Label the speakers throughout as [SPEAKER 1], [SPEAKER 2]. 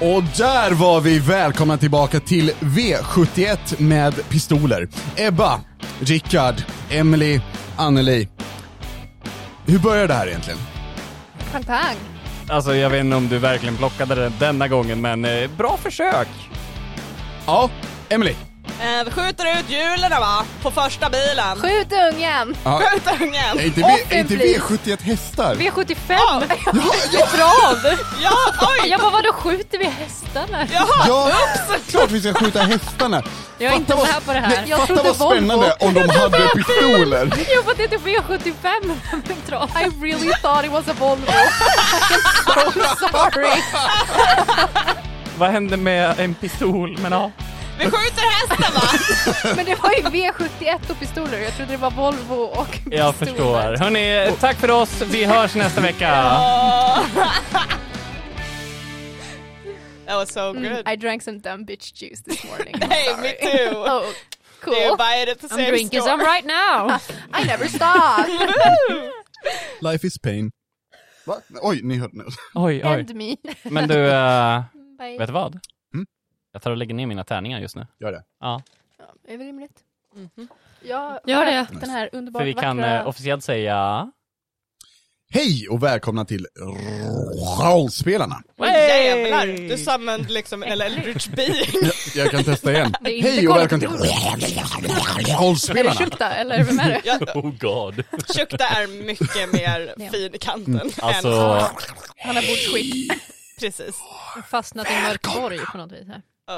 [SPEAKER 1] Och där var vi välkomna tillbaka till V71 med pistoler. Ebba, Rickard, Emily, Anneli. Hur börjar det här egentligen?
[SPEAKER 2] Pang, pang.
[SPEAKER 3] Alltså jag vet inte om du verkligen plockade den denna gången, men eh, bra försök!
[SPEAKER 1] Ja, Emily.
[SPEAKER 4] Eh, vi skjuter ut hjulen va? På första bilen.
[SPEAKER 2] Skjut ungen!
[SPEAKER 1] Ja.
[SPEAKER 4] Skjut ungen!
[SPEAKER 1] Är inte,
[SPEAKER 2] Off
[SPEAKER 1] v, är inte
[SPEAKER 2] en flis.
[SPEAKER 1] V71 hästar?
[SPEAKER 2] V75!
[SPEAKER 4] Ja.
[SPEAKER 1] ja,
[SPEAKER 4] Trav! Ja, oj!
[SPEAKER 2] Jag bara, vadå skjuter vi hästarna?
[SPEAKER 4] Jaha!
[SPEAKER 1] ja, klart vi ska skjuta hästarna.
[SPEAKER 2] Jag är inte
[SPEAKER 1] Fatta vad-
[SPEAKER 2] med på det här.
[SPEAKER 1] Nej,
[SPEAKER 2] Jag
[SPEAKER 1] Fatta
[SPEAKER 2] trodde
[SPEAKER 1] vad spännande om de hade pistoler.
[SPEAKER 2] Jag har fått inte V75 med trav. I really thought it was a Volvo. I'm so sorry.
[SPEAKER 3] Vad hände med en pistol? Men ja.
[SPEAKER 4] Vi skjuter hästen va?
[SPEAKER 2] Men det var ju V71 och pistoler. Jag trodde det var Volvo och pistoler.
[SPEAKER 3] Jag förstår. Hörni, tack för oss. Vi hörs nästa vecka.
[SPEAKER 4] That was so good.
[SPEAKER 2] Mm. I drank some dumb bitch juice this morning.
[SPEAKER 4] Hey, me too.
[SPEAKER 2] Oh, cool.
[SPEAKER 4] Do you buy it at the
[SPEAKER 5] I'm
[SPEAKER 4] same
[SPEAKER 5] drinking
[SPEAKER 4] store?
[SPEAKER 5] some right now.
[SPEAKER 2] I never stop.
[SPEAKER 1] Life is pain. Va? Oj, ni hörde.
[SPEAKER 3] Oj, oj.
[SPEAKER 2] End me.
[SPEAKER 3] Men du, eh,
[SPEAKER 2] Bye.
[SPEAKER 3] vet du vad?
[SPEAKER 1] Mm.
[SPEAKER 3] Jag tar och lägger ner mina tärningar just nu.
[SPEAKER 1] Gör det.
[SPEAKER 3] Ja,
[SPEAKER 2] Ja, det är väl rimligt. Mhm. Ja,
[SPEAKER 5] Gör det.
[SPEAKER 2] sköt Den här underbart
[SPEAKER 3] för vi kan
[SPEAKER 2] vackra...
[SPEAKER 3] eh, officiellt säga...
[SPEAKER 1] Hej och välkomna till Rollspelarna.
[SPEAKER 4] Oj, Jävlar, du summoned liksom en eldritch being.
[SPEAKER 1] Jag, jag kan testa igen.
[SPEAKER 2] Det är inte
[SPEAKER 1] Hej och
[SPEAKER 2] Call of
[SPEAKER 1] välkomna till
[SPEAKER 2] Är det
[SPEAKER 1] Rollspelarna.
[SPEAKER 2] Shukta eller vem är det?
[SPEAKER 4] Ja,
[SPEAKER 3] Oh god.
[SPEAKER 4] Tjukta är mycket mer
[SPEAKER 2] Ja.
[SPEAKER 4] fin i kanten. Än,
[SPEAKER 3] Alltså,
[SPEAKER 2] Han har bordsskick.
[SPEAKER 4] precis.
[SPEAKER 5] Fastnat i en mörk borg på något vis här.
[SPEAKER 4] Uh,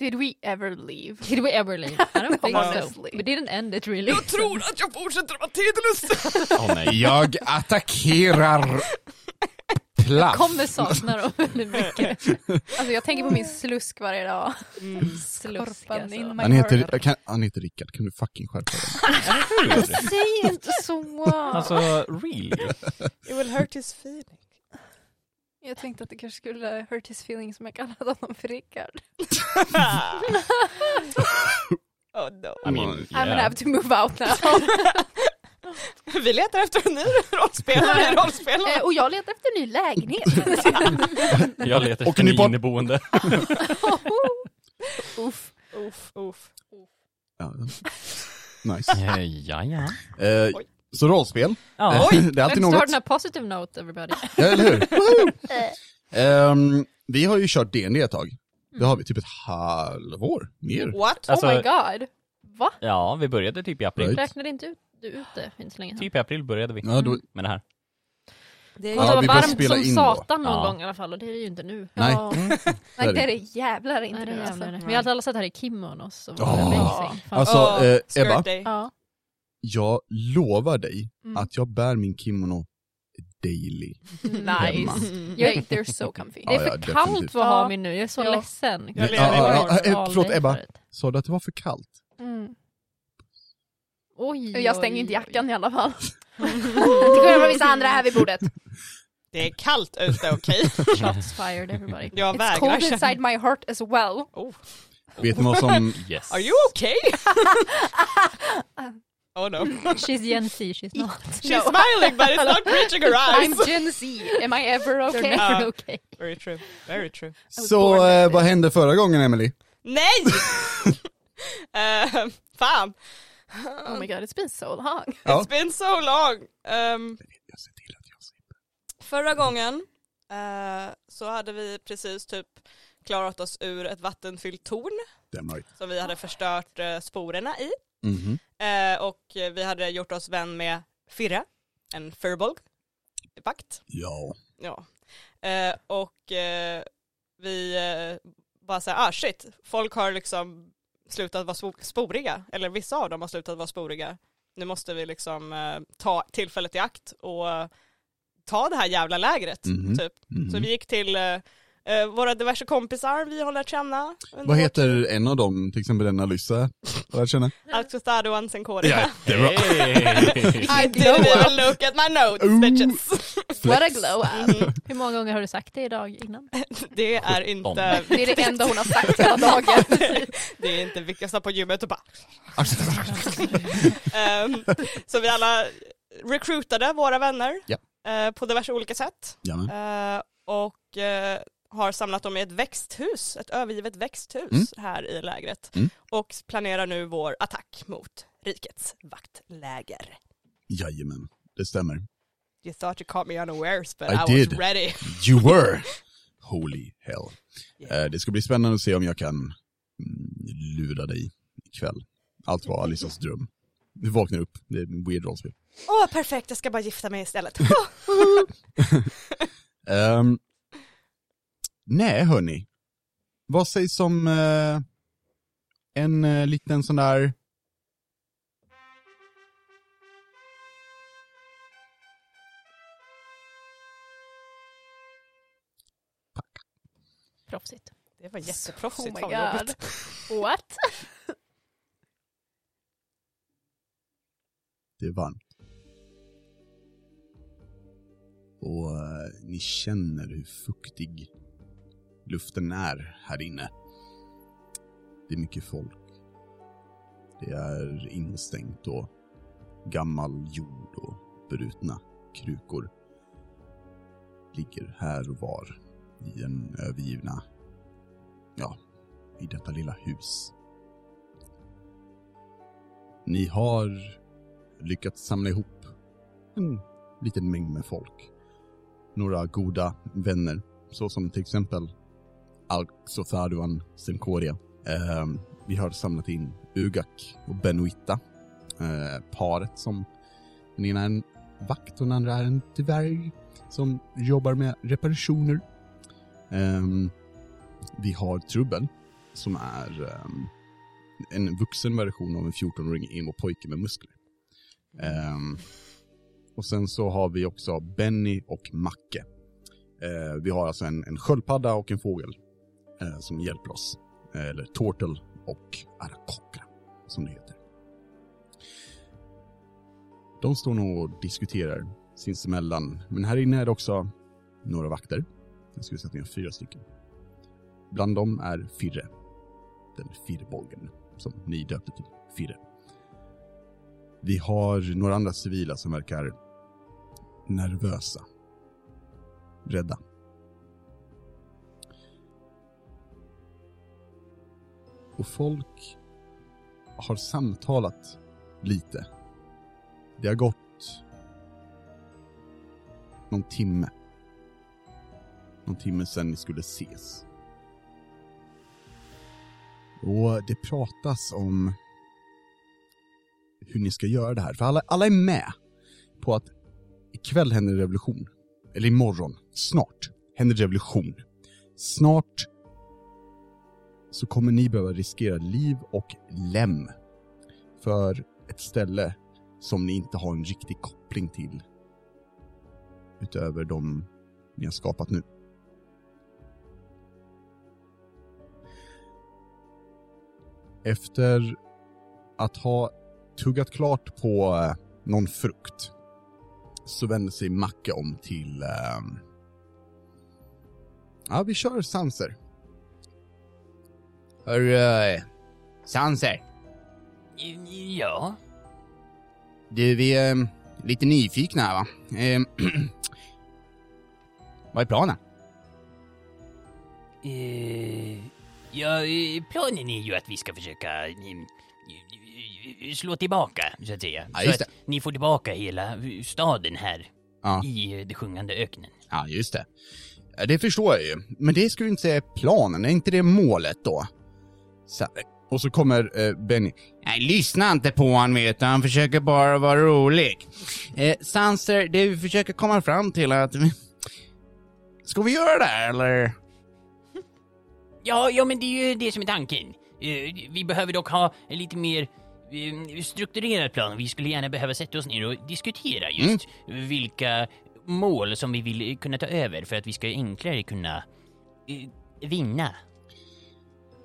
[SPEAKER 2] Did we ever leave?
[SPEAKER 5] Did we ever leave? I don't think so.
[SPEAKER 2] Honestly.
[SPEAKER 5] We didn't end it really.
[SPEAKER 4] jag tror att jag fortsätter vara tidlös.
[SPEAKER 3] åh nej.
[SPEAKER 1] Jag attackerar plats.
[SPEAKER 5] Kommer sakna dem väldigt mycket.
[SPEAKER 2] Alltså jag tänker på min slusk varje dag.
[SPEAKER 5] Slusk
[SPEAKER 2] Korpan in
[SPEAKER 5] alltså.
[SPEAKER 2] my
[SPEAKER 1] Han heter,
[SPEAKER 2] heart.
[SPEAKER 1] jag kan, han heter Rickard, kan du fucking skärpa dig?
[SPEAKER 2] Säg inte så!
[SPEAKER 3] Alltså, really?
[SPEAKER 4] It will hurt his feelings.
[SPEAKER 2] Jag tänkte att det kanske skulle hurt his feelings om jag kallade honom för Rickard.
[SPEAKER 4] oh no.
[SPEAKER 3] I mean,
[SPEAKER 2] I'm gonna
[SPEAKER 3] Mm, yeah.
[SPEAKER 2] have to move out now.
[SPEAKER 4] Vi letar efter en ny rollspelare i
[SPEAKER 2] Eh,
[SPEAKER 4] rollspelarna.
[SPEAKER 2] och jag letar efter en ny lägenhet.
[SPEAKER 3] Jag letar
[SPEAKER 1] Åker
[SPEAKER 3] efter
[SPEAKER 1] ni
[SPEAKER 3] en
[SPEAKER 1] bort?
[SPEAKER 3] inneboende.
[SPEAKER 2] Oh. Uff. Oh
[SPEAKER 4] Uff, uff.
[SPEAKER 1] Ja. Nice.
[SPEAKER 3] Ja, ja. ja.
[SPEAKER 1] Eh,
[SPEAKER 4] Oj.
[SPEAKER 1] så rollspel,
[SPEAKER 2] Oh
[SPEAKER 3] ja.
[SPEAKER 1] Eh, det är alltid
[SPEAKER 5] Let's start
[SPEAKER 1] något.
[SPEAKER 5] on a positive note everybody.
[SPEAKER 1] Ja, eller hur? Woohoo!
[SPEAKER 2] Eh.
[SPEAKER 1] Ehm, vi har ju kört D&D ett
[SPEAKER 2] Mm.
[SPEAKER 1] tag. Det har vi, typ ett halvår, mer.
[SPEAKER 4] What?
[SPEAKER 3] Alltså-
[SPEAKER 2] oh my god. Va?
[SPEAKER 3] ja, vi började typ i april.
[SPEAKER 1] Right.
[SPEAKER 5] Räknade inte ut, du ut det inte så länge?
[SPEAKER 3] Typ i april började vi
[SPEAKER 1] Ja, då,
[SPEAKER 3] med det här.
[SPEAKER 5] Det är
[SPEAKER 1] Ja, vi
[SPEAKER 5] var
[SPEAKER 1] bör
[SPEAKER 5] varmt
[SPEAKER 1] spela
[SPEAKER 5] som
[SPEAKER 1] in då.
[SPEAKER 5] satan någon
[SPEAKER 3] Ja.
[SPEAKER 5] gång i alla fall och det är det ju inte nu.
[SPEAKER 1] nej. Mm.
[SPEAKER 2] Ja.
[SPEAKER 1] Där är
[SPEAKER 2] Mm. Nej, det är det jävlar inte
[SPEAKER 5] Nej, det
[SPEAKER 2] nu,
[SPEAKER 5] är
[SPEAKER 2] alltså.
[SPEAKER 5] jävlar det. Vi har alla sett här i kimonos och var
[SPEAKER 1] Ja.
[SPEAKER 5] amazing. Fan.
[SPEAKER 1] Alltså,
[SPEAKER 4] Åh,
[SPEAKER 1] eh,
[SPEAKER 4] skirt
[SPEAKER 1] Ebba?
[SPEAKER 4] day.
[SPEAKER 2] Ja.
[SPEAKER 1] Jag lovar dig
[SPEAKER 2] Mm.
[SPEAKER 1] att jag bär min kimono daily. Hemma.
[SPEAKER 2] Nice. Jag, they're so comfy.
[SPEAKER 5] Det
[SPEAKER 1] Mm. Ja,
[SPEAKER 5] är
[SPEAKER 1] ja,
[SPEAKER 5] för kallt
[SPEAKER 1] definitivt.
[SPEAKER 5] vad har
[SPEAKER 2] Ja.
[SPEAKER 5] vi nu, jag är så
[SPEAKER 2] Ja.
[SPEAKER 5] ledsen.
[SPEAKER 4] Jag
[SPEAKER 1] Ja, ja, ja,
[SPEAKER 5] All
[SPEAKER 1] eh, förlåt,
[SPEAKER 5] day
[SPEAKER 1] Ebba.
[SPEAKER 5] förut.
[SPEAKER 1] Sa du att det var för kallt?
[SPEAKER 2] Mm.
[SPEAKER 5] Oj,
[SPEAKER 2] Jag stänger
[SPEAKER 5] oj,
[SPEAKER 2] inte
[SPEAKER 5] oj.
[SPEAKER 2] jackan i alla fall. Till skillnad från vissa andra här vid bordet.
[SPEAKER 4] Det är kallt ute, okej?
[SPEAKER 5] Shots fired everybody.
[SPEAKER 4] Jag
[SPEAKER 2] It's
[SPEAKER 4] vägrar
[SPEAKER 2] cold
[SPEAKER 4] känna...
[SPEAKER 2] inside my heart as well.
[SPEAKER 4] Oh,
[SPEAKER 1] Vet ni vad som...
[SPEAKER 3] Yes.
[SPEAKER 4] are you okay? oh no.
[SPEAKER 5] She's Gen Z, she's not.
[SPEAKER 4] She's smiling but it's not reaching her eyes.
[SPEAKER 2] I'm Gen Z. Am I ever
[SPEAKER 5] They're
[SPEAKER 2] okay?
[SPEAKER 5] never
[SPEAKER 4] Ja.
[SPEAKER 5] okay.
[SPEAKER 4] Very true, very true.
[SPEAKER 1] Så
[SPEAKER 2] born
[SPEAKER 1] eh,
[SPEAKER 2] with
[SPEAKER 1] vad hände förra gången Emily?
[SPEAKER 4] Nej! Eh, fan,
[SPEAKER 2] Oh my god, it's been so long.
[SPEAKER 1] Ja.
[SPEAKER 4] it's been so long. Ehm,
[SPEAKER 1] Jag ser till att jag slipper.
[SPEAKER 4] förra gången eh, så hade vi precis typ klarat oss ur ett vattenfyllt torn
[SPEAKER 1] Damn right.
[SPEAKER 4] som vi hade förstört eh, sporerna i.
[SPEAKER 1] Mhm.
[SPEAKER 4] Eh, och eh, vi hade gjort oss vän med Firre, en furbolg, vakt.
[SPEAKER 1] Ja.
[SPEAKER 4] Ja. Eh, och eh, vi eh, bara såhär, ah shit, folk har liksom slutat vara spo- sporiga, eller vissa av dem har slutat vara sporiga. Nu måste vi liksom eh, ta tillfället i akt och eh, ta det här jävla lägret,
[SPEAKER 1] Mhm.
[SPEAKER 4] typ.
[SPEAKER 1] Mhm.
[SPEAKER 4] Så vi gick till eh, eh, våra diverse kompisar vi har lärt känna.
[SPEAKER 1] Vad heter en eh? av dem, till exempel den Alyssa? Vad jag känner?
[SPEAKER 4] Alcostado och Ansenkori.
[SPEAKER 1] Ja, det var...
[SPEAKER 3] Hey.
[SPEAKER 4] I didn't even look at my notes
[SPEAKER 1] Ooh.
[SPEAKER 4] bitches.
[SPEAKER 2] What a glow up.
[SPEAKER 4] Mhm.
[SPEAKER 5] Hur många gånger har du sagt det idag innan?
[SPEAKER 4] Det är inte,
[SPEAKER 2] Det är det enda hon har sagt hela dagen.
[SPEAKER 4] det är inte vilka som på gymmet och bara Ehm, så vi alla recruitade våra vänner
[SPEAKER 1] Ja.
[SPEAKER 4] eh, på diverse olika sätt.
[SPEAKER 1] Jamen.
[SPEAKER 4] Eh, och eh, har samlat dem i ett växthus, ett övergivet växthus
[SPEAKER 1] Mm.
[SPEAKER 4] här i lägret.
[SPEAKER 1] Mm.
[SPEAKER 4] Och planerar nu vår attack mot rikets vaktläger.
[SPEAKER 1] Jajamän, det stämmer.
[SPEAKER 4] You thought you caught me unawares but
[SPEAKER 1] I
[SPEAKER 4] I, was
[SPEAKER 1] did.
[SPEAKER 4] ready.
[SPEAKER 1] You were! Holy hell.
[SPEAKER 4] Yeah.
[SPEAKER 1] Eh, det ska bli spännande att se om jag kan mm, lura dig ikväll. Allt var Alissas dröm. Du vaknar upp, det är en weird rollspel.
[SPEAKER 4] Åh perfekt, jag ska bara gifta mig istället.
[SPEAKER 1] Ehm, nej, hörni. Vad sägs om eh, en eh, liten sån där...
[SPEAKER 5] Proffsigt.
[SPEAKER 4] det var jätteproffsigt,
[SPEAKER 5] Oh
[SPEAKER 4] fan
[SPEAKER 5] my
[SPEAKER 4] vad
[SPEAKER 5] god.
[SPEAKER 4] jobbigt.
[SPEAKER 5] What?
[SPEAKER 1] Det är varmt. Och eh, ni känner hur fuktig luften är här inne. Det är mycket folk. Det är instängt och gammal jord och brutna krukor ligger här och var i en övergivna, ja, i detta lilla hus. Ni har lyckats samla ihop en liten mängd med folk. Några goda vänner, såsom till exempel Alxotharuan Senkoria. Eh, vi har samlat in Ugak och Benoita. Eh, paret som, den ena är en vakt och den andra är en dvärg som jobbar med reparationer. Ehm, vi har Trubbel som är ehm, en vuxen version av en 14-årig emo-pojke med muskler. Ehm, och sen så har vi också Benny och Macke. Eh, vi har alltså en, en sköldpadda och en fågel eh, som hjälper oss. Eh, eller Tortle och Arakokra, som det heter. De står nog och diskuterar sinsemellan, men här inne är det också några vakter. Jag skulle säga att ni har fyra stycken. Bland dem är Firre, den firbolgen som ni döpte till Firre. Vi har några andra civila som verkar nervösa. Rädda. Och folk har samtalat lite. Det har gått någon timme. Någon timme sedan ni skulle ses. Och det pratas om hur ni ska göra det här. För alla, alla är med på att ikväll händer revolution. Eller imorgon, snart, händer revolution. Snart så kommer ni behöva riskera liv och lem för ett ställe som ni inte har en riktig koppling till utöver de ni har skapat nu. Efter att ha tuggat klart på eh, någon frukt så vänder sig Macke om till... ehm, Ja, vi kör Sanser. Hörru, eh, Sanser.
[SPEAKER 3] Ja?
[SPEAKER 1] Du, vi är ehm, lite nyfikna här va? Ehm, Vad är planen?
[SPEAKER 6] Eh, ja, eh, planen är ju att vi ska försöka mm, slå tillbaka, så att säga.
[SPEAKER 1] Ja,
[SPEAKER 6] så
[SPEAKER 1] just
[SPEAKER 6] att ni får tillbaka hela staden här
[SPEAKER 1] Ja.
[SPEAKER 6] i eh, det sjungande öknen.
[SPEAKER 1] Ja, just det. Ja, Det förstår jag ju. Men det skulle inte säga är planen, är inte det målet då? Så, och så kommer eh, Benny. Nej, lyssna inte på han vet du. han försöker bara vara rolig. Eh, Sanser, det vi försöker komma fram till är att... vi- Ska vi göra det här eller?
[SPEAKER 6] Ja, ja, men det är ju det som är tanken. Eh, vi behöver dock ha en lite mer eh, strukturerad plan. Vi skulle gärna behöva sätta oss ner och diskutera
[SPEAKER 1] Mm.
[SPEAKER 6] just vilka mål som vi vill eh, kunna ta över för att vi ska enklare kunna eh, vinna.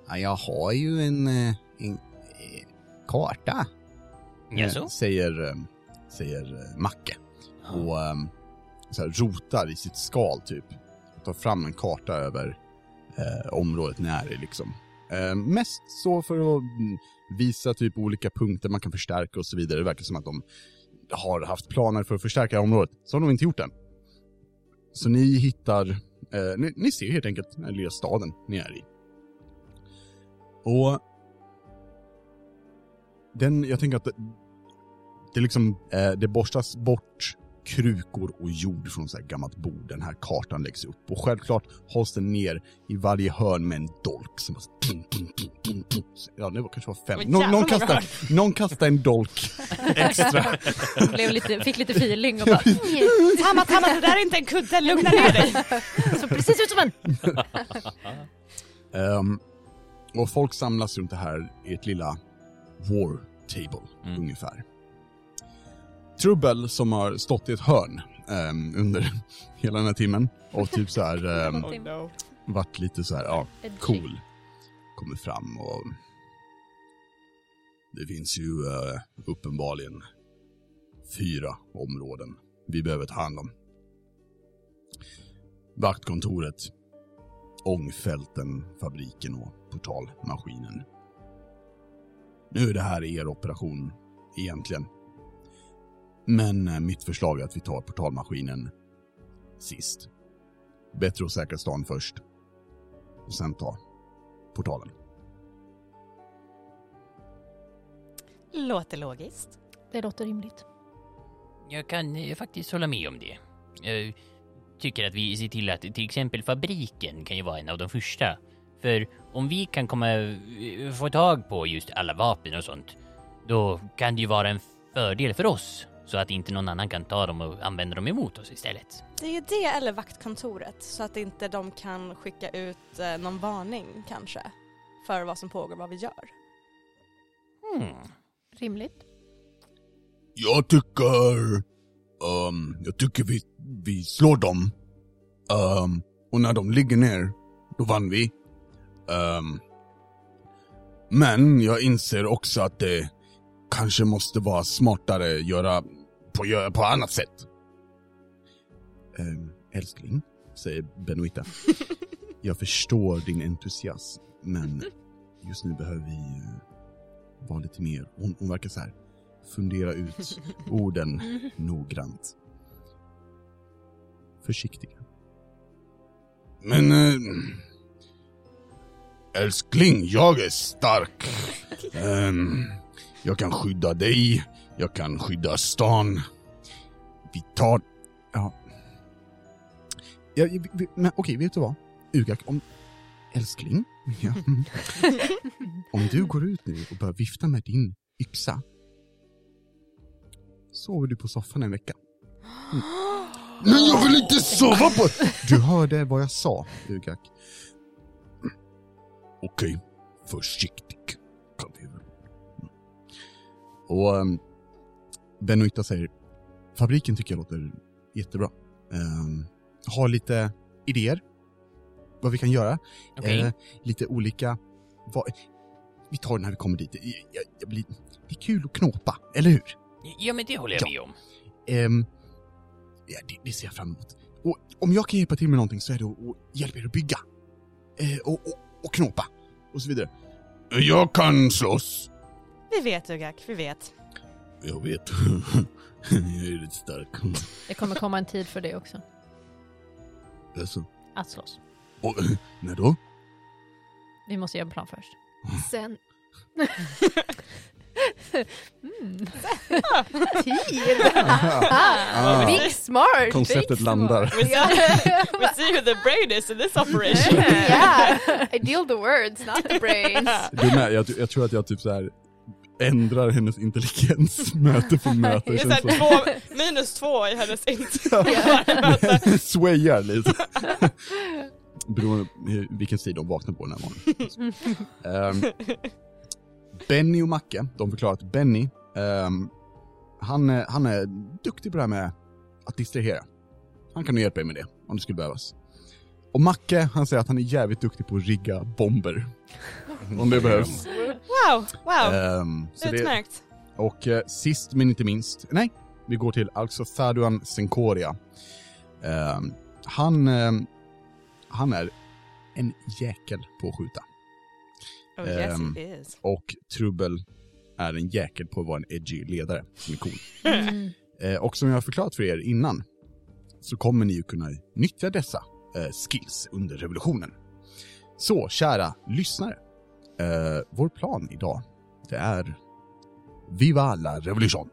[SPEAKER 1] Ja, jag har ju en, eh, en eh, karta.
[SPEAKER 6] Jaså?
[SPEAKER 1] Eh, Säger, eh, säger eh, Macke. Och ehm, så här, rotar i sitt skal typ. Tar fram en karta över eh, området ni är i liksom. Eh, mest så för att mm, visa typ olika punkter man kan förstärka och så vidare. Det verkar som att de har haft planer för att förstärka området. Så har de inte gjort det. Så ni hittar Eh, ni, ni ser helt enkelt den här lilla staden ni är i. Och den, jag tänker att det, det liksom, eh, det borstas bort krukor och jord från så här gammalt bord. Den här kartan läggs upp och självklart hålls den ner i varje hörn med en dolk som bara så ping, ping, ping, ping, ping. Ja, det var kanske var fem.
[SPEAKER 4] Oj,
[SPEAKER 1] Någon,
[SPEAKER 4] jävlar
[SPEAKER 1] någon,
[SPEAKER 4] vad
[SPEAKER 1] kastar, någon kastar en dolk extra.
[SPEAKER 5] Blev lite, fick lite feeling och bara... "Mm."
[SPEAKER 4] Tamma, Tamma, det där är inte en kudde, lugna ner dig.
[SPEAKER 5] Så precis ut som en!
[SPEAKER 1] Ehm, och folk samlas runt det här i ett lilla war table,
[SPEAKER 3] Mm.
[SPEAKER 1] ungefär. Trubbel som har stått i ett hörn ehm, under hela den här timmen och typ så här ehm,
[SPEAKER 4] Oh, no.
[SPEAKER 1] varit lite så här, ja, cool. Kommer fram och det finns ju eh, uppenbarligen fyra områden vi behöver ta hand om. Vaktkontoret, ångfälten, fabriken och portalmaskinen. Nu är det här er operation egentligen. Men eh, mitt förslag är att vi tar portalmaskinen sist. Bättre att säkra stan först och sen ta portalen.
[SPEAKER 4] Låter logiskt.
[SPEAKER 5] Det låter rimligt.
[SPEAKER 6] Jag kan eh, faktiskt hålla med om det. Jag tycker att vi ser till att till exempel fabriken kan ju vara en av de första. För om vi kan komma, eh, få tag på just alla vapen och sånt, då kan det ju vara en fördel för oss. Så att inte någon annan kan ta dem och använda dem emot oss istället.
[SPEAKER 4] Det är ju det eller vaktkontoret så att inte de kan skicka ut eh, någon varning kanske för vad som pågår, vad vi gör.
[SPEAKER 6] Hmm.
[SPEAKER 5] Rimligt.
[SPEAKER 1] Jag tycker... ehm, jag tycker vi, vi slår dem. Ehm, och när de ligger ner, då vann vi. Ehm, men jag inser också att det kanske måste vara smartare göra på, göra på annat sätt. Um, älskling, säger Benoita. jag förstår din entusiasm, men just nu behöver vi eh, vara lite mer... Hon, hon verkar så här fundera ut orden noggrant. Försiktiga. Men... Äh, älskling, jag är stark. Ehm, jag kan skydda dig, jag kan skydda stan. Vi tar... Ja. ja vi, vi, men okej, vet du vad? Ugak, om... Älskling? Ja. om du går ut nu och börjar vifta med din yxa sover du på soffan en vecka. Men jag vill inte sova på... Du hörde vad jag sa, Ugak. Mm. Okej, försiktig kan vi väl. Mm. Och um, Benoita säger, fabriken tycker jag låter jättebra. Ehm, har lite idéer vad vi kan göra.
[SPEAKER 6] Okej.
[SPEAKER 1] Eh, lite olika... Vad, vi tar det när vi kommer dit. Jag, jag, jag blir, det är kul att knåpa, eller hur?
[SPEAKER 6] Ja men det håller jag
[SPEAKER 1] Ja.
[SPEAKER 6] med om.
[SPEAKER 1] Ehm, ja, det, det ser jag fram emot. Och om jag kan hjälpa till med någonting så är det att, att hjälpa er att bygga. Eh, och, och, och knåpa. Och så vidare. Jag kan slåss.
[SPEAKER 4] Vi vet Ugak, vi vet.
[SPEAKER 1] Jag vet. jag är lite stark.
[SPEAKER 5] Det kommer komma en tid för det också.
[SPEAKER 1] Alltså.
[SPEAKER 5] Att slåss.
[SPEAKER 1] Och, när då?
[SPEAKER 5] Vi måste göra en plan först.
[SPEAKER 2] Sen
[SPEAKER 5] Mm.
[SPEAKER 2] tid.
[SPEAKER 1] Ah.
[SPEAKER 2] Big smart.
[SPEAKER 1] Konceptet
[SPEAKER 2] big
[SPEAKER 1] landar.
[SPEAKER 4] We see, we see who the brain is in this
[SPEAKER 2] smart.
[SPEAKER 4] operation.
[SPEAKER 2] yeah. I deal the words, not the brains.
[SPEAKER 1] Du med, jag, jag tror att jag typ så här ändrar hennes intelligens möte för möte.
[SPEAKER 4] Det är
[SPEAKER 1] känns
[SPEAKER 4] såhär
[SPEAKER 1] som.
[SPEAKER 4] två, minus två i hennes intro.
[SPEAKER 1] Swayar lite. Beroende på hur- vilken sida de vaknar på den här morgonen. Ehm, Benny och Macke, de förklarar att Benny, ehm, han, är- han är duktig på det här med att distrahera. Han kan nog hjälpa er med det, om det skulle behövas. Och Macke, han säger att han är jävligt duktig på att rigga bomber. Om det behövs.
[SPEAKER 4] Wow, wow.
[SPEAKER 1] Ehm, så det-
[SPEAKER 4] Utmärkt.
[SPEAKER 1] och eh, sist men inte minst, nej, vi går till alltså Alxothaduan Senkoria. Eh, han, eh, han är en jäkel på att skjuta.
[SPEAKER 4] Oh, yes
[SPEAKER 1] ehm,
[SPEAKER 4] it is.
[SPEAKER 1] Och Trubbel är en jäkel på att vara en edgy ledare som är cool. Eh, och som jag har förklarat för er innan så kommer ni ju kunna nyttja dessa eh, skills under revolutionen. Så, kära lyssnare. Eh, vår plan idag, det är Viva la revolution!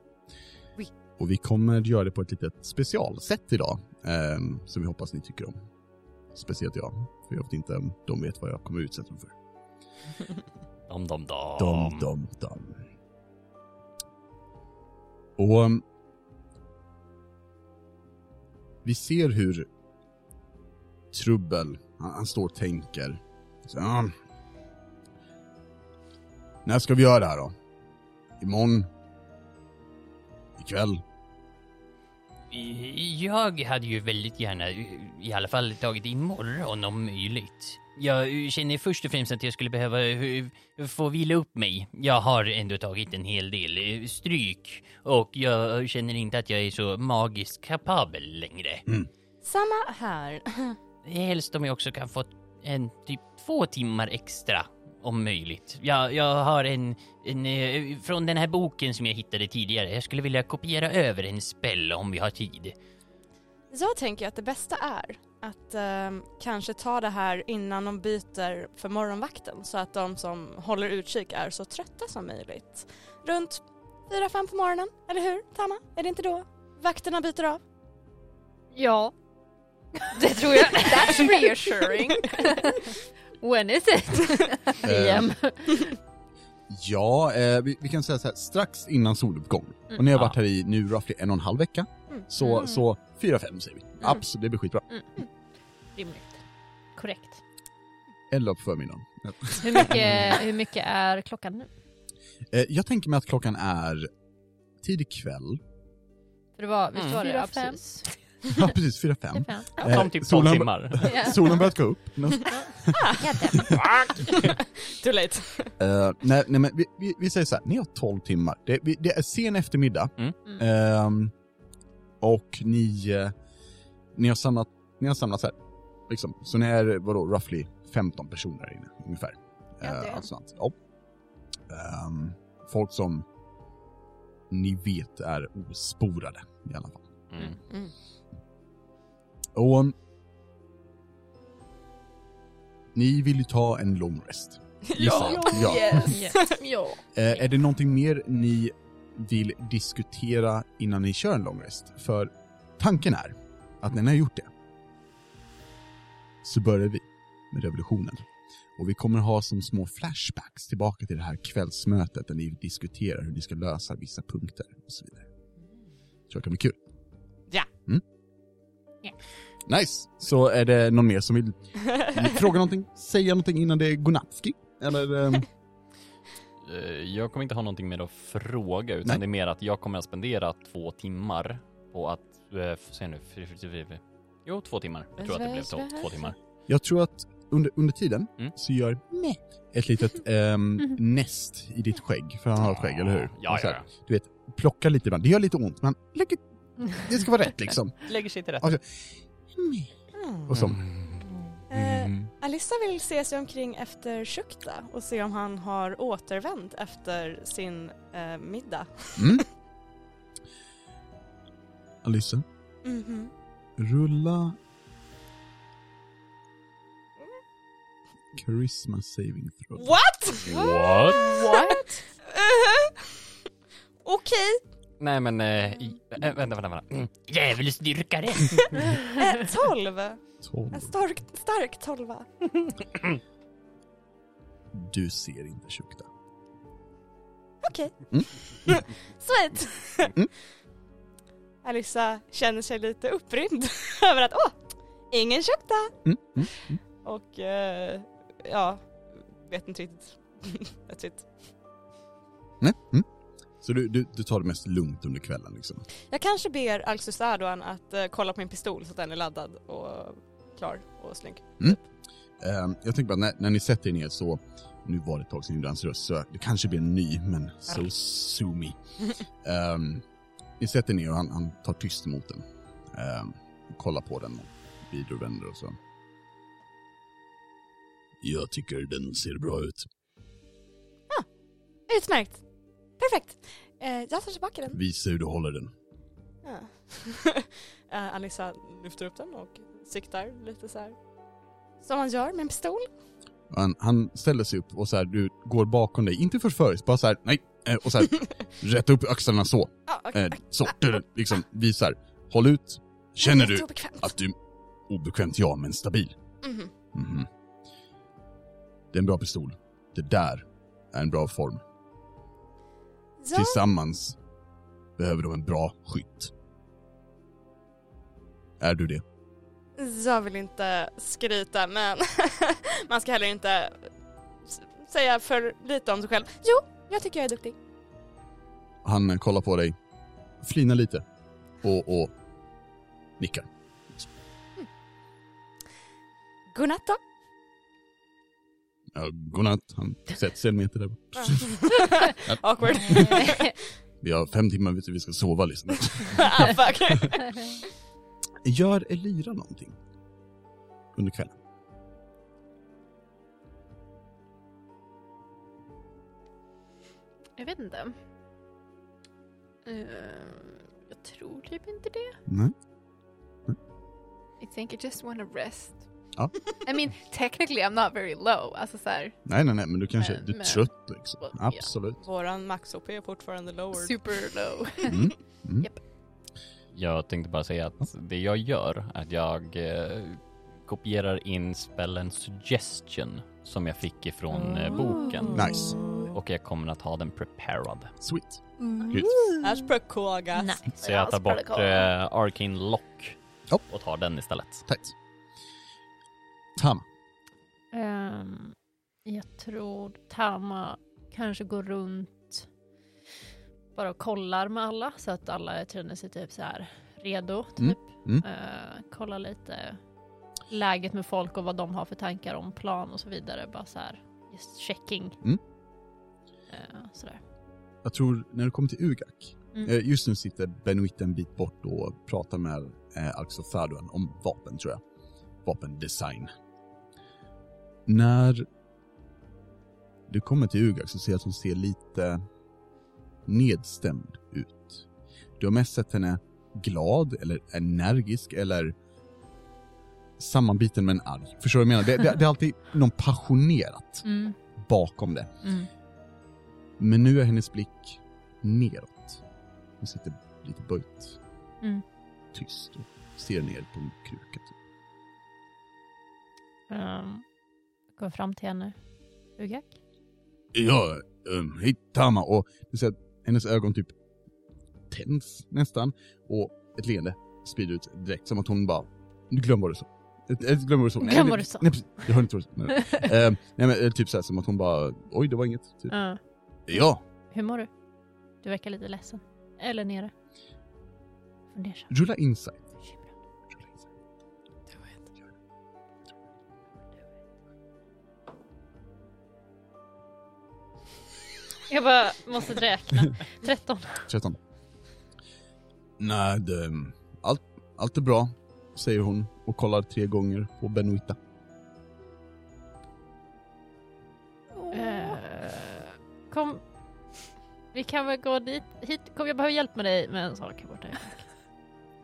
[SPEAKER 2] Oui.
[SPEAKER 1] Och vi kommer göra det på ett litet specialsätt idag, eh, som vi hoppas ni tycker om. Speciellt jag, för jag vet inte om de vet vad jag kommer utsätta dem för.
[SPEAKER 6] Dom, dom, dom.
[SPEAKER 1] Dom, dom, dom. Och... um, Vi ser hur Trubbel, han, han står och tänker. Så, ja. När ska vi göra det här då? Imorgon? Ikväll?
[SPEAKER 6] Jag hade ju väldigt gärna eh, i alla fall tagit in morgon om möjligt. Jag eh, känner först och främst att jag skulle behöva eh, få vila upp mig. Jag har ändå tagit en hel del eh, stryk och jag känner inte att jag är så magiskt kapabel längre.
[SPEAKER 4] Samma här.
[SPEAKER 6] Helst om jag också kan få en typ två timmar extra om möjligt. Jag, jag har en, en eh, från den här boken som jag hittade tidigare. Jag skulle vilja kopiera över en spell om vi har tid.
[SPEAKER 4] Jag tänker att det bästa är att ehm, kanske ta det här innan de byter för morgonvakten så att de som håller utkik är så trötta som möjligt. Runt 4-5 på morgonen, eller hur Tana? Är det inte då vakterna byter av?
[SPEAKER 5] Ja.
[SPEAKER 2] Det tror jag. That's reassuring.
[SPEAKER 5] When is it? PM.
[SPEAKER 1] Eh, Ja, eh, vi, vi kan säga så här, strax innan soluppgång. Och ni har varit här i nu roughly en och en halv vecka.
[SPEAKER 4] Mm.
[SPEAKER 1] Så, så fyra, fem säger vi. Absolut, det blir skitbra.
[SPEAKER 5] Rimligt. Korrekt.
[SPEAKER 1] Eller på förmiddagen.
[SPEAKER 5] Hur mycket, hur mycket är klockan nu?
[SPEAKER 1] Eh, jag tänker mig att klockan är tidig kväll.
[SPEAKER 5] För det var, visst
[SPEAKER 3] Mm.
[SPEAKER 5] var det?
[SPEAKER 2] Fyra,
[SPEAKER 5] Ja,
[SPEAKER 2] fem.
[SPEAKER 5] precis.
[SPEAKER 1] Ja, precis. Fyra, fem.
[SPEAKER 5] Fem.
[SPEAKER 1] Eh,
[SPEAKER 3] Om typ 12
[SPEAKER 1] solen-
[SPEAKER 3] timmar.
[SPEAKER 5] Ja.
[SPEAKER 1] Solen börjat gå upp. Men,
[SPEAKER 4] Too late.
[SPEAKER 1] eh, nej, nej, men vi, vi, vi säger så här, ni har 12 timmar. Det, vi, det är sen eftermiddag.
[SPEAKER 3] Mm.
[SPEAKER 5] Mm.
[SPEAKER 1] Ehm, och ni, eh, ni har samlat, ni har samlats här. Liksom. Så ni är, vadå, roughly 15 personer här inne, ungefär.
[SPEAKER 2] Ja, det är.
[SPEAKER 1] allt sånt. Ja. Ehm, folk som ni vet är osporade i alla fall.
[SPEAKER 3] Mm.
[SPEAKER 1] Och... um, Ni vill ju ta en long rest. gissar jag. ja.
[SPEAKER 4] Oh,
[SPEAKER 2] Yes. ja.
[SPEAKER 1] Eh, är det någonting mer ni vill diskutera innan ni kör en long rest? För tanken är att när ni har gjort det så börjar vi med revolutionen. Och vi kommer ha som små flashbacks tillbaka till det här kvällsmötet där ni diskuterar hur ni ska lösa vissa punkter och så vidare. Tror det kan bli kul.
[SPEAKER 3] Ja.
[SPEAKER 1] Mm?
[SPEAKER 5] Ja.
[SPEAKER 1] Nice! Så är det någon mer som vill fråga någonting, säga någonting innan det är godnattski? Eller? ehm,
[SPEAKER 3] Eh, Jag kommer inte ha någonting mer att fråga utan
[SPEAKER 1] Nej.
[SPEAKER 3] det är mer att jag kommer att spendera två timmar på att, eh, f- se nu, fri- fri- fri- fri- jo två timmar. Jag tror att det blev två, två timmar.
[SPEAKER 1] Jag tror att under, under tiden
[SPEAKER 3] Mm.
[SPEAKER 1] så gör Meh ett litet ehm, näst i ditt skägg, för han har ett skägg, eller hur?
[SPEAKER 3] Ja,
[SPEAKER 1] Och så
[SPEAKER 3] ja,
[SPEAKER 1] här,
[SPEAKER 3] ja.
[SPEAKER 1] Plocka lite ibland, det gör lite ont, men lägger, det ska vara rätt liksom.
[SPEAKER 3] Lägger sig till rätt.
[SPEAKER 1] Meh. Och så.
[SPEAKER 3] Mm.
[SPEAKER 4] Eh, Alissa vill se sig omkring efter Shukta och se om han har återvänt efter sin eh, middag.
[SPEAKER 1] Mm. Alissa,
[SPEAKER 4] Mhm.
[SPEAKER 1] rulla... Charisma saving throw.
[SPEAKER 4] What?
[SPEAKER 3] What?
[SPEAKER 4] What? Okej,
[SPEAKER 3] Nej men, eh, i- eh, vänta, vänta, vänta. Mm.
[SPEAKER 6] Djävulsdyrkare!
[SPEAKER 4] eh, tolv.
[SPEAKER 1] Tolv.
[SPEAKER 4] En stark, stark tolva.
[SPEAKER 1] Du ser inte Shukta.
[SPEAKER 4] Okej.
[SPEAKER 1] Mm.
[SPEAKER 4] Sweet.
[SPEAKER 1] Mm.
[SPEAKER 4] Alissa känner sig lite upprymd över att åh, ingen köpte.
[SPEAKER 1] Mm, mm, mm.
[SPEAKER 4] Och eh, ja, vet inte riktigt. That's it.
[SPEAKER 1] Nej. Mm. Så du, du, du tar det mest lugnt under kvällen liksom?
[SPEAKER 4] Jag kanske ber Alxus Erdogan att eh, kolla på min pistol så att den är laddad och klar och snygg.
[SPEAKER 1] Ehm, jag tänker bara, när, när ni sätter er ner så, nu var det ett tag sedan jag gjorde hans röst, så det kanske blir en ny, men so sue me. Ehm, ni sätter er ner och han, han tar tyst emot den. Ehm, och kollar på den och vrider och vänder och så. Jag tycker den ser bra ut.
[SPEAKER 4] Utmärkt. Perfekt. Eh, jag tar tillbaka den.
[SPEAKER 1] Visa hur du håller den.
[SPEAKER 4] Ja. Eh, Alissa lyfter upp den och siktar lite så här. Som man gör med en pistol.
[SPEAKER 1] Han, han ställer sig upp och så här, du går bakom dig, inte förföriskt, bara så här, nej, eh, och så här, rätt upp axlarna så,
[SPEAKER 4] Ja, okej.
[SPEAKER 1] eh, så, liksom visar. Håll ut, känner
[SPEAKER 4] Det är
[SPEAKER 1] du
[SPEAKER 4] obekvämt.
[SPEAKER 1] att du, obekvämt ja, men stabil.
[SPEAKER 4] Mhm.
[SPEAKER 1] Mhm. Det är en bra pistol. Det där är en bra form.
[SPEAKER 4] Ja,
[SPEAKER 1] Tillsammans behöver de en bra skytt. Är du det?
[SPEAKER 4] jag vill inte skryta men man ska heller inte s- säga för lite om sig själv. Jo, jag tycker jag är duktig.
[SPEAKER 1] Han kollar på dig, flinar lite och, och nickar.
[SPEAKER 4] Godnatt då.
[SPEAKER 1] Ja, godnatt. Han sätter sig en meter där.
[SPEAKER 4] Awkward.
[SPEAKER 1] Vi har fem timmar, vet du, vi ska sova liksom.
[SPEAKER 4] ah, fuck.
[SPEAKER 1] Gör Elira någonting? Under kvällen?
[SPEAKER 2] Jag vet inte. Ehm, jag tror typ inte det.
[SPEAKER 1] Nej.
[SPEAKER 2] I think I just wanna rest.
[SPEAKER 1] Ja.
[SPEAKER 2] I mean, technically I'm not very low. Alltså såhär,
[SPEAKER 1] Nej, nej, nej, men du kanske,
[SPEAKER 2] Men-
[SPEAKER 1] du är
[SPEAKER 2] men-
[SPEAKER 1] trött liksom.
[SPEAKER 2] Well, ja.
[SPEAKER 1] Absolut.
[SPEAKER 4] Våran max-OP är fortfarande lowered.
[SPEAKER 2] super low.
[SPEAKER 1] Mm.
[SPEAKER 3] Jag tänkte bara säga att det jag gör är att jag eh, kopierar in spellen suggestion som jag fick ifrån eh, boken.
[SPEAKER 4] Oh.
[SPEAKER 1] Nice.
[SPEAKER 3] Och jag kommer att ha den preparad.
[SPEAKER 1] Sweet.
[SPEAKER 4] As per Koga.
[SPEAKER 3] Så jag tar bort eh,
[SPEAKER 6] Mm.
[SPEAKER 3] arcane lock
[SPEAKER 1] Ja.
[SPEAKER 3] och tar den istället.
[SPEAKER 1] Tight. Tam.
[SPEAKER 5] Ehm, jag tror Tama kanske går runt bara och kollar med alla så att alla känner sig typ så här redo. Typ.
[SPEAKER 1] mm.
[SPEAKER 5] Ehm, kolla lite läget med folk och vad de har för tankar om plan och så vidare. Bara så här just checking.
[SPEAKER 1] Mm.
[SPEAKER 5] Ehm, sådär.
[SPEAKER 1] Jag tror när du kommer till Ugak,
[SPEAKER 5] Mm.
[SPEAKER 1] eh, just nu sitter Benoit en bit bort och pratar med eh, Alxo Faduen om vapen tror jag. Vapendesign. När du kommer till Ugak så ser jag att hon ser lite nedstämd ut. Du har mest sett henne glad eller energisk eller sammanbiten men arg. Förstår du vad jag menar? Det, det, det är alltid någon passionerat
[SPEAKER 5] Mm.
[SPEAKER 1] bakom det.
[SPEAKER 5] Mm.
[SPEAKER 1] Men nu är hennes blick neråt. Hon sitter lite böjt.
[SPEAKER 5] Mm.
[SPEAKER 1] Tyst och ser ner på en kruka. Typ.
[SPEAKER 5] Ehm, går fram till henne. Ugak?
[SPEAKER 1] Ja, um, hej Tama. Och du ser att hennes ögon typ tänds nästan. Och ett leende sprider ut direkt. Som att hon bara, glöm vad du sa. Eh, eh, Glöm vad du sa. Nej,
[SPEAKER 5] Glöm
[SPEAKER 1] nej,
[SPEAKER 5] vad du sa.
[SPEAKER 1] Nej, precis. Jag hörde inte vad du sa. Nej. Ehm, nej men eh, typ såhär som att hon bara, oj det var inget. Typ.
[SPEAKER 5] Ja.
[SPEAKER 1] Ja,
[SPEAKER 5] Hur mår du? Du verkar lite ledsen. Eller nere. Fundersam.
[SPEAKER 1] rulla insight.
[SPEAKER 5] bekymrad.
[SPEAKER 1] Rulla insight.
[SPEAKER 5] Jag bara måste räkna. 13.
[SPEAKER 1] 13. Nej, det, allt, allt är bra, säger hon och kollar tre gånger på Benoita.
[SPEAKER 5] Eh, kom. Vi kan väl gå dit. Hit. Kom, jag behöver hjälp med dig med en sak här borta.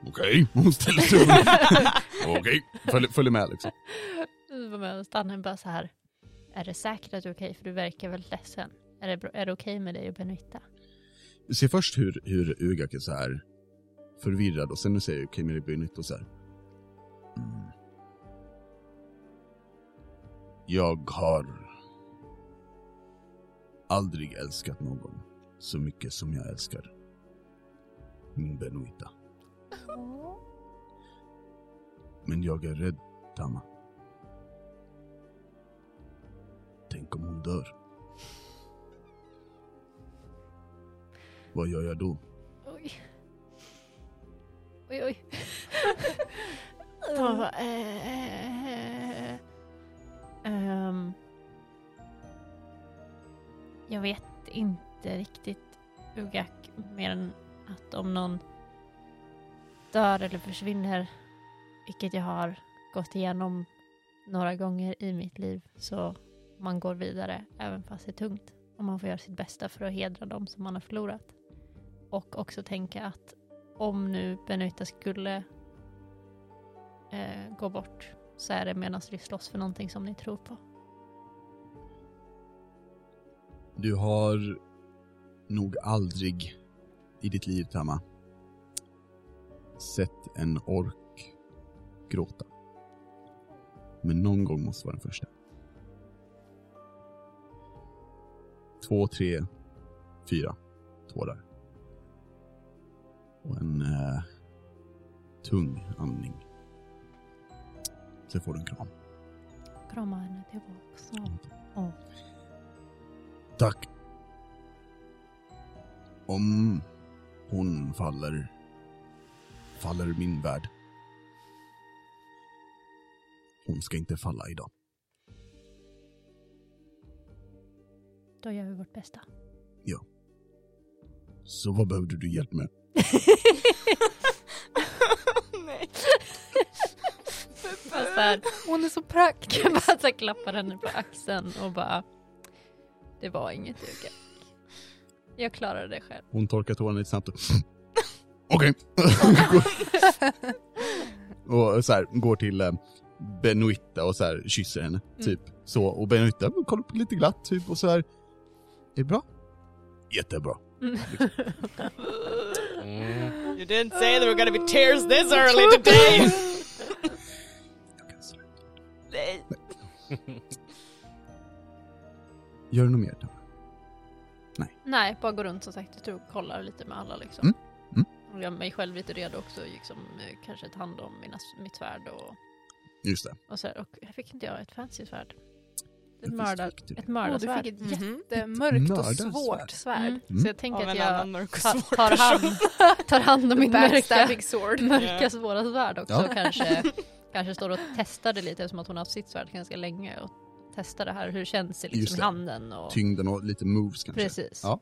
[SPEAKER 1] Okej, hon ställer sig upp. Okej, följ, följ med liksom.
[SPEAKER 5] Du var med och stannade bara så här. Är det säkert att du är okej? För du verkar väldigt ledsen. Är det, bra- är det okej med dig och Benuita?
[SPEAKER 1] Du ser först hur, hur Ugak är så här förvirrad och sen nu säger Kimmy Benoita så här. Mm. Jag har aldrig älskat någon så mycket som jag älskar min Benoita. Men jag är rädd, Tama. Tänk om hon dör. Vad gör jag då?
[SPEAKER 5] Oj. Oj, oj. Ta, eh, ehm. jag vet inte riktigt, Ugak, mer än att om någon dör eller försvinner, vilket jag har gått igenom några gånger i mitt liv, så man går vidare även fast det är tungt. Och man får göra sitt bästa för att hedra dem som man har förlorat. Och också tänka att om nu Benuta skulle eh, går bort så är det medan vi slåss för någonting som ni tror på.
[SPEAKER 1] Du har nog aldrig i ditt liv, Tama, sett en ork gråta. Men någon gång måste vara den första. Två, tre, fyra tårar. Och en eh, tung andning. Sen får du en kram.
[SPEAKER 5] Krama henne tillbaks. Och, och
[SPEAKER 1] Tack. Om hon faller, faller min värld. Hon ska inte falla idag.
[SPEAKER 5] då gör vi vårt bästa.
[SPEAKER 1] Så vad behövde du hjälp med?
[SPEAKER 4] Nej.
[SPEAKER 5] Bara så här, hon är så praktisk. Bara så här, klappar henne på axeln och bara. Det var inget Uga. Jag klarade det själv.
[SPEAKER 1] Hon torkar tårarna lite snabbt och... Okej. och så här, går till eh, Benoitta och så här, kysser henne. Typ så. Och Benoitta kollar på lite glatt typ och så här. Är det bra? Jättebra.
[SPEAKER 4] You didn't say there were gonna be tears this early today!
[SPEAKER 1] Jag kan sluta.
[SPEAKER 4] Nej.
[SPEAKER 1] Gör du något mer? Tama?
[SPEAKER 5] Nej, bara gå runt som sagt och tror, kollar lite med alla liksom.
[SPEAKER 1] Mm. Mm.
[SPEAKER 5] Och gör mig själv lite redo också. Liksom, eh, kanske ta hand om mina, mitt svärd och,
[SPEAKER 1] Just det.
[SPEAKER 5] och så här. Och här fick inte jag ett fancy svärd.
[SPEAKER 1] Det
[SPEAKER 5] Ett,
[SPEAKER 1] finns
[SPEAKER 5] mördar,
[SPEAKER 1] fick du det.
[SPEAKER 5] ett
[SPEAKER 2] Åh, du
[SPEAKER 5] mördarsvärd.
[SPEAKER 2] fick ett
[SPEAKER 4] Mhm.
[SPEAKER 2] jättemörkt och
[SPEAKER 1] Mördarsvärd.
[SPEAKER 2] svårt svärd.
[SPEAKER 5] Mm.
[SPEAKER 1] Mm.
[SPEAKER 5] Så jag tänker
[SPEAKER 4] Av
[SPEAKER 5] att
[SPEAKER 4] en
[SPEAKER 5] jag
[SPEAKER 4] annan mörk och
[SPEAKER 5] ta,
[SPEAKER 4] svår
[SPEAKER 5] tar, hand, tar hand om mitt mörka,
[SPEAKER 2] Backstabbing sword.
[SPEAKER 5] mörka svåra svärd också.
[SPEAKER 1] Ja.
[SPEAKER 5] Och kanske, kanske står och testar det lite eftersom att hon har haft sitt svärd ganska länge. Och testar det här, hur känns det
[SPEAKER 1] Just
[SPEAKER 5] liksom i
[SPEAKER 1] det.
[SPEAKER 5] handen? Och,
[SPEAKER 1] Tyngden och lite moves kanske.
[SPEAKER 5] precis.
[SPEAKER 1] Ja.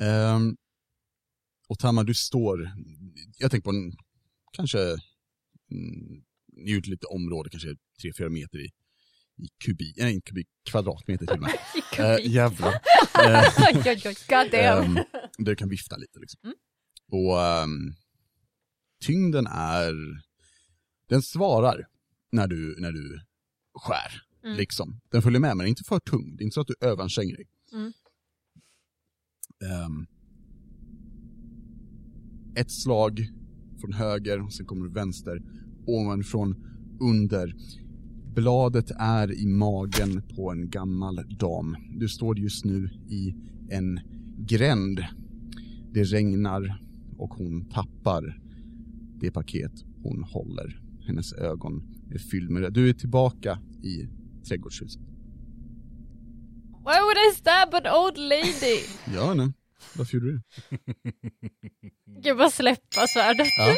[SPEAKER 1] Ehm, och Tamma, du står, jag tänker på en, kanske, mm, i ett litet område, kanske 3-4 meter i, i kubik, nej inte kubik, kvadratmeter till och med.
[SPEAKER 5] Kubik.
[SPEAKER 1] Eh, jävlar. Eh,
[SPEAKER 5] Oj, oj, oj.
[SPEAKER 2] God damn.
[SPEAKER 1] ehm, där du kan vifta lite liksom.
[SPEAKER 5] Mm.
[SPEAKER 1] Och ehm, tyngden är, den svarar när du, när du skär.
[SPEAKER 5] Mm.
[SPEAKER 1] Liksom. Den följer med men den är inte för tung, det är inte så att du överanstränger dig.
[SPEAKER 5] Mm.
[SPEAKER 1] Ehm, ett slag från höger, och sen kommer du vänster, ovanifrån, under. Bladet är i magen på en gammal dam. Du står just nu i en gränd. Det regnar och hon tappar det paket hon håller. Hennes ögon är fyllda med det. Du är tillbaka i trädgårdshuset.
[SPEAKER 5] Why would I stab an old lady?
[SPEAKER 1] Ja, nej. Varför gjorde du det?
[SPEAKER 5] Gud bara släppa svärdet
[SPEAKER 1] Ja.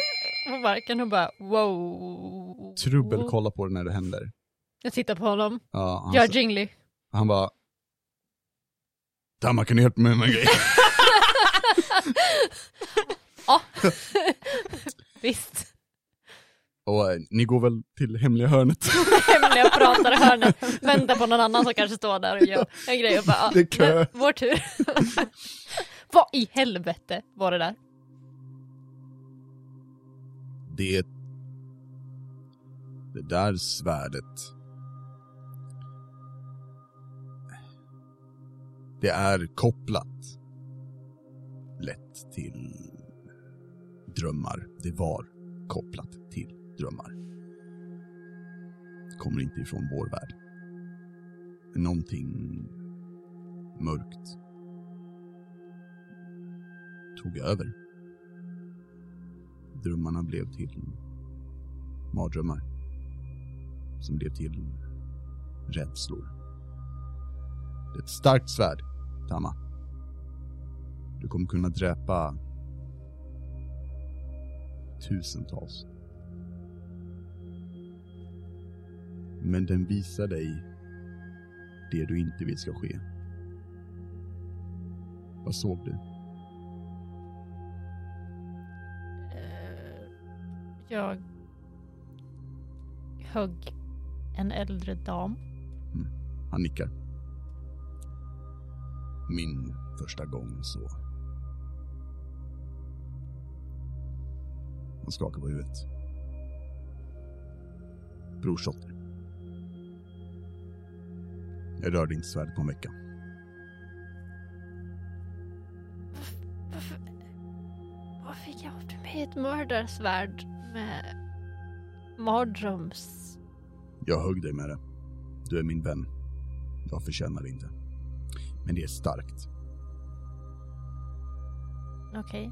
[SPEAKER 5] på marken och bara wow.
[SPEAKER 1] Trubbel kollar på det när det händer.
[SPEAKER 5] Jag tittar på honom.
[SPEAKER 1] Ja, han,
[SPEAKER 5] Gör jingly.
[SPEAKER 1] han bara... Damma, kan du hjälpa mig med en grej?
[SPEAKER 5] Visst.
[SPEAKER 1] Och eh, ni går väl till hemliga hörnet?
[SPEAKER 5] Hemliga pratar i hörnet. Väntar på någon annan som kanske står där och gör en grej och bara ja,
[SPEAKER 1] Det är kö.
[SPEAKER 5] men Vår tur. Vad i helvete var det där?
[SPEAKER 1] Det... Det där svärdet... Det är kopplat. Lätt till drömmar. Det var kopplat till drömmar. Kommer inte ifrån vår värld. Någonting mörkt tog över. Drömmarna blev till mardrömmar. Som blev till rädslor. Det är ett starkt svärd, Tama. Du kommer kunna dräpa tusentals. Men den visar dig det du inte vill ska ske. Vad såg du?
[SPEAKER 5] Eh, Jag högg en äldre dam.
[SPEAKER 1] Han nickar. Min första gång så... Han skakar på huvudet. brorsdotter. Jag rörde inte svärdet på en vecka.
[SPEAKER 5] Varför, vad fick jag av mig ett mördarsvärd med mardröms...
[SPEAKER 1] Jag högg dig med det. Du är min vän. Jag förtjänar det inte. Men det är starkt.
[SPEAKER 5] Okej.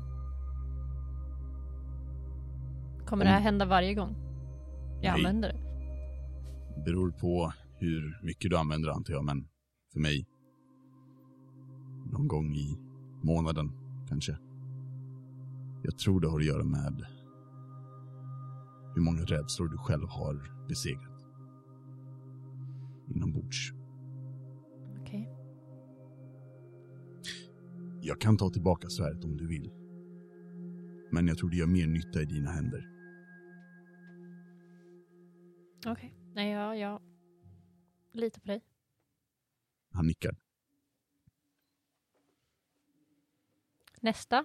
[SPEAKER 5] Kommer det här hända varje gång jag
[SPEAKER 1] Nej.
[SPEAKER 5] använder det?
[SPEAKER 1] Beror på hur mycket du använder antar jag, men för mig någon gång i månaden kanske. Jag tror det har att göra med hur många rädslor du själv har besegrat. Inombords.
[SPEAKER 5] Okej.
[SPEAKER 1] Jag kan ta tillbaka svärdet om du vill. Men jag tror det gör mer nytta i dina händer.
[SPEAKER 5] Okej. Nej, ja, jag litar på dig.
[SPEAKER 1] Han nickar.
[SPEAKER 5] Nästa.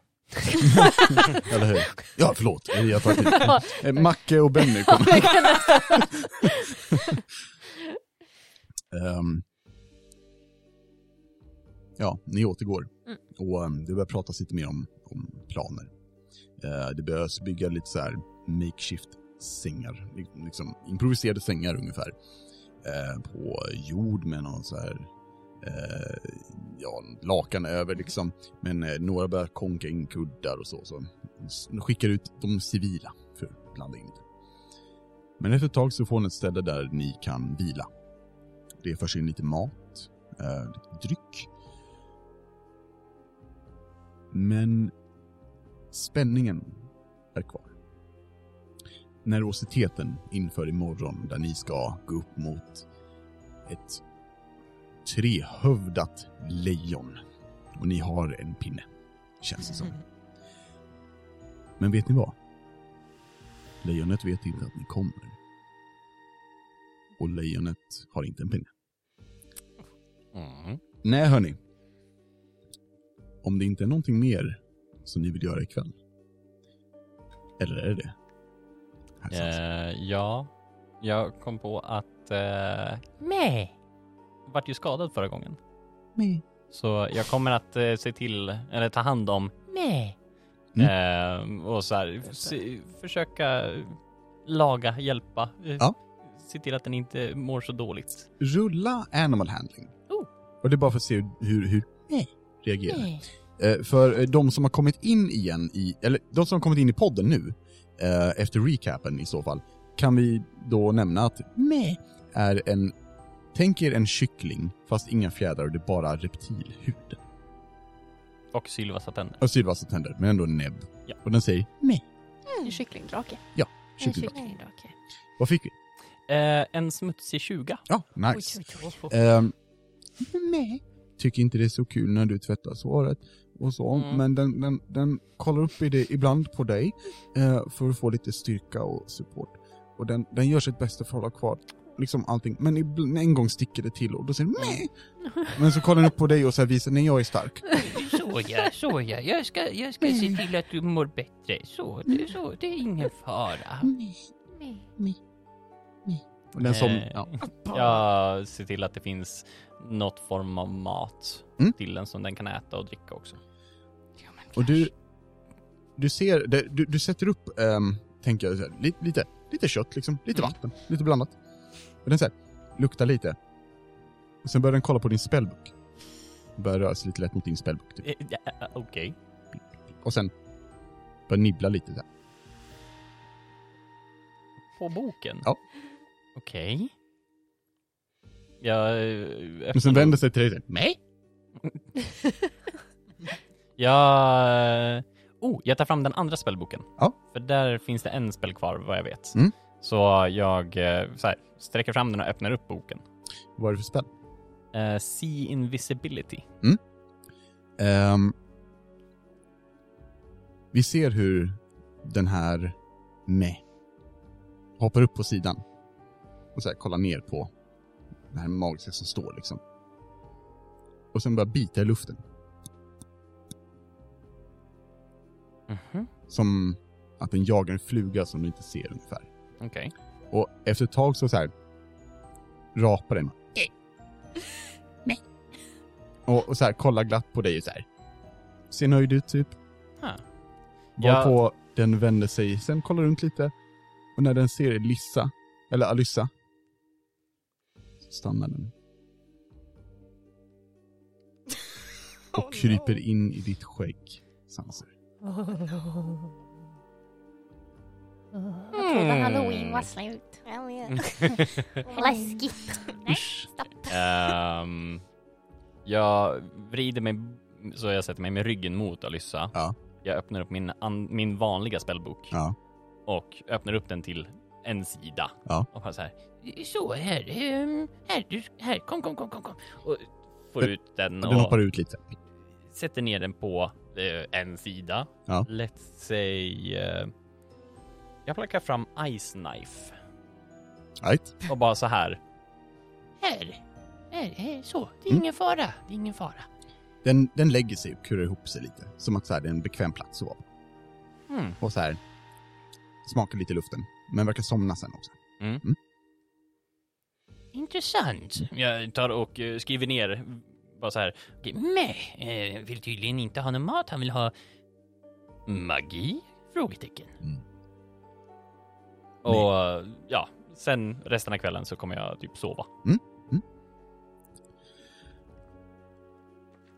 [SPEAKER 1] Eller hur? Ja, förlåt. Jag tar till. Eh, Macke och Benny kommer. Ehm, ja, ni återgår.
[SPEAKER 5] Mm.
[SPEAKER 1] Och ehm, det börjar pratas lite mer om, om planer. Eh, det behövs bygga lite så här makeshift-sängar. li- Liksom improviserade sängar ungefär. Eh, på jord med någon så här eh, ja, lakan över liksom. Men eh, några börjar konka in kuddar och så. Så s- skickar ut de civila för att blanda in lite. Men efter ett tag så får ni ett ställe där ni kan vila. Det förs in lite mat, eh, lite dryck. Men spänningen är kvar. Nervositeten inför imorgon där ni ska gå upp mot ett trehövdat lejon. Och ni har en pinne, känns det som. Men vet ni vad? Lejonet vet inte att ni kommer. Och lejonet har inte en pinne.
[SPEAKER 3] Mm.
[SPEAKER 1] Nej hörni. Om det inte är någonting mer som ni vill göra ikväll. Eller är det det? Här satt-
[SPEAKER 3] Eh, ja, jag kom på att eh,
[SPEAKER 6] Meh.
[SPEAKER 3] vart ju skadad förra gången. Så jag kommer att eh, se till, eller ta hand om
[SPEAKER 6] Meh.
[SPEAKER 3] eh, och så här, se, försöka laga, hjälpa. Eh,
[SPEAKER 1] Ja.
[SPEAKER 3] Se till att den inte mår så dåligt.
[SPEAKER 1] Rulla animal handling.
[SPEAKER 6] Oh.
[SPEAKER 1] Och det är bara för att se hur, hur, hur
[SPEAKER 6] Nej.
[SPEAKER 1] reagerar.
[SPEAKER 6] Meh.
[SPEAKER 1] Eh, för eh, de som har kommit in igen i, eller de som har kommit in i podden nu, eh, efter recapen i så fall, kan vi då nämna att meh är en, tänk er en kyckling fast inga fjädrar och det är bara reptilhud.
[SPEAKER 3] Och Sylvas tänder.
[SPEAKER 1] Och sylvassa tänder, men ändå näbb.
[SPEAKER 3] Ja.
[SPEAKER 1] Och den säger meh.
[SPEAKER 5] En kycklingdrake. En
[SPEAKER 1] Kyckling.
[SPEAKER 5] kycklingdrake.
[SPEAKER 1] Vad fick vi?
[SPEAKER 3] Eh, en smutsig 20.
[SPEAKER 1] Ja,
[SPEAKER 6] Oj,
[SPEAKER 1] nice.
[SPEAKER 6] oj, oj.
[SPEAKER 1] Ehm, meh. Tycker inte det är så kul när du tvättar såret och så,
[SPEAKER 3] Mm.
[SPEAKER 1] men den, den, den kollar upp i det ibland på dig eh, för att få lite styrka och support. Och den, den gör sitt bästa för att hålla kvar liksom allting, men ibland, en gång sticker det till och då säger den meh. Men så kollar den upp på dig och så här visar, nej jag är stark.
[SPEAKER 6] Såja, såja. Jag ska, jag ska se till att du mår bättre. Så,
[SPEAKER 5] Mm.
[SPEAKER 6] det, så, det är ingen fara.
[SPEAKER 1] Och den som,
[SPEAKER 3] Eh,
[SPEAKER 1] ja.
[SPEAKER 3] Jag ser till att det finns något form av mat
[SPEAKER 1] Mm.
[SPEAKER 3] till den som den kan äta och dricka också.
[SPEAKER 1] Och du, du ser, det- du, du sätter upp, ehm, tänker jag, så här, li, lite, lite kött liksom, lite vatten, lite blandat. Och den säger, luktar lite. Och sen börjar den kolla på din spellbook. Börjar röra sig lite lätt mot din spellbook typ.
[SPEAKER 3] Eh, ja, eh, Okej.
[SPEAKER 1] Och sen börjar nibbla lite där.
[SPEAKER 3] På boken?
[SPEAKER 1] Ja.
[SPEAKER 3] Okej. Jag... eh,
[SPEAKER 1] Men
[SPEAKER 3] öppnar
[SPEAKER 1] sen
[SPEAKER 3] nog-
[SPEAKER 1] vänder sig till dig och säger, nej.
[SPEAKER 3] Jag... Oh, jag tar fram den andra spelboken.
[SPEAKER 1] Ja.
[SPEAKER 3] För där finns det en spel kvar vad jag vet.
[SPEAKER 1] Mm.
[SPEAKER 3] Så jag eh, så här, sträcker fram den och öppnar upp boken.
[SPEAKER 1] Vad är det för spell?
[SPEAKER 3] Eh, see invisibility.
[SPEAKER 1] Ehm, vi ser hur den här med hoppar upp på sidan och så här, kollar ner på det här magiska som står liksom. Och sen börjar bita i luften.
[SPEAKER 3] Mhm.
[SPEAKER 1] Som att den jagar en fluga som du inte ser ungefär.
[SPEAKER 3] Okej.
[SPEAKER 1] Och Och efter ett tag så, så här rapar den.
[SPEAKER 6] Nej.
[SPEAKER 1] Och, och så här kollar glatt på dig så här. Ser nöjd ut typ.
[SPEAKER 3] Ah.
[SPEAKER 1] Varpå den vänder sig, sen kollar runt lite. Och när den ser Lissa, eller Alyssa, så stannar den och
[SPEAKER 4] Oh,
[SPEAKER 1] kryper
[SPEAKER 4] no.
[SPEAKER 1] in i ditt skägg, Sanser.
[SPEAKER 7] Jag trodde halloween var slut. Läskigt. Nej, stopp.
[SPEAKER 3] Ehm, jag vrider mig så jag sätter mig med ryggen mot Alyssa.
[SPEAKER 1] Ja.
[SPEAKER 3] Jag öppnar upp min, an, min vanliga spellbok
[SPEAKER 1] Ja.
[SPEAKER 3] och öppnar upp den till en sida.
[SPEAKER 1] Ja.
[SPEAKER 3] Och bara så här,
[SPEAKER 6] Så här, ehm, här, du, här, kom, kom, kom, kom, kom.
[SPEAKER 3] och får
[SPEAKER 1] Den-
[SPEAKER 3] ut den
[SPEAKER 1] Den
[SPEAKER 3] och
[SPEAKER 1] hoppar ut lite.
[SPEAKER 3] sätter ner den på eh, en sida.
[SPEAKER 1] Ja.
[SPEAKER 3] Let's say... eh, jag plockar fram Ice Knife
[SPEAKER 1] Right.
[SPEAKER 3] och bara så här.
[SPEAKER 6] Här, här, här, så. Det är
[SPEAKER 1] Mm.
[SPEAKER 6] ingen fara, det är ingen fara.
[SPEAKER 1] Den, den lägger sig och kurar ihop sig lite. Som att så här, det är en bekväm plats att vara på.
[SPEAKER 3] Hmm.
[SPEAKER 1] Och så här, smakar lite i luften. Men verkar somna sen också.
[SPEAKER 6] Intressant.
[SPEAKER 3] Jag tar och eh, skriver ner bara så här.
[SPEAKER 6] Okej, Meh eh, vill tydligen inte ha någon mat, han vill ha magi? Frågetecken.
[SPEAKER 3] Mm. Och ja, sen resten av kvällen så kommer jag typ sova.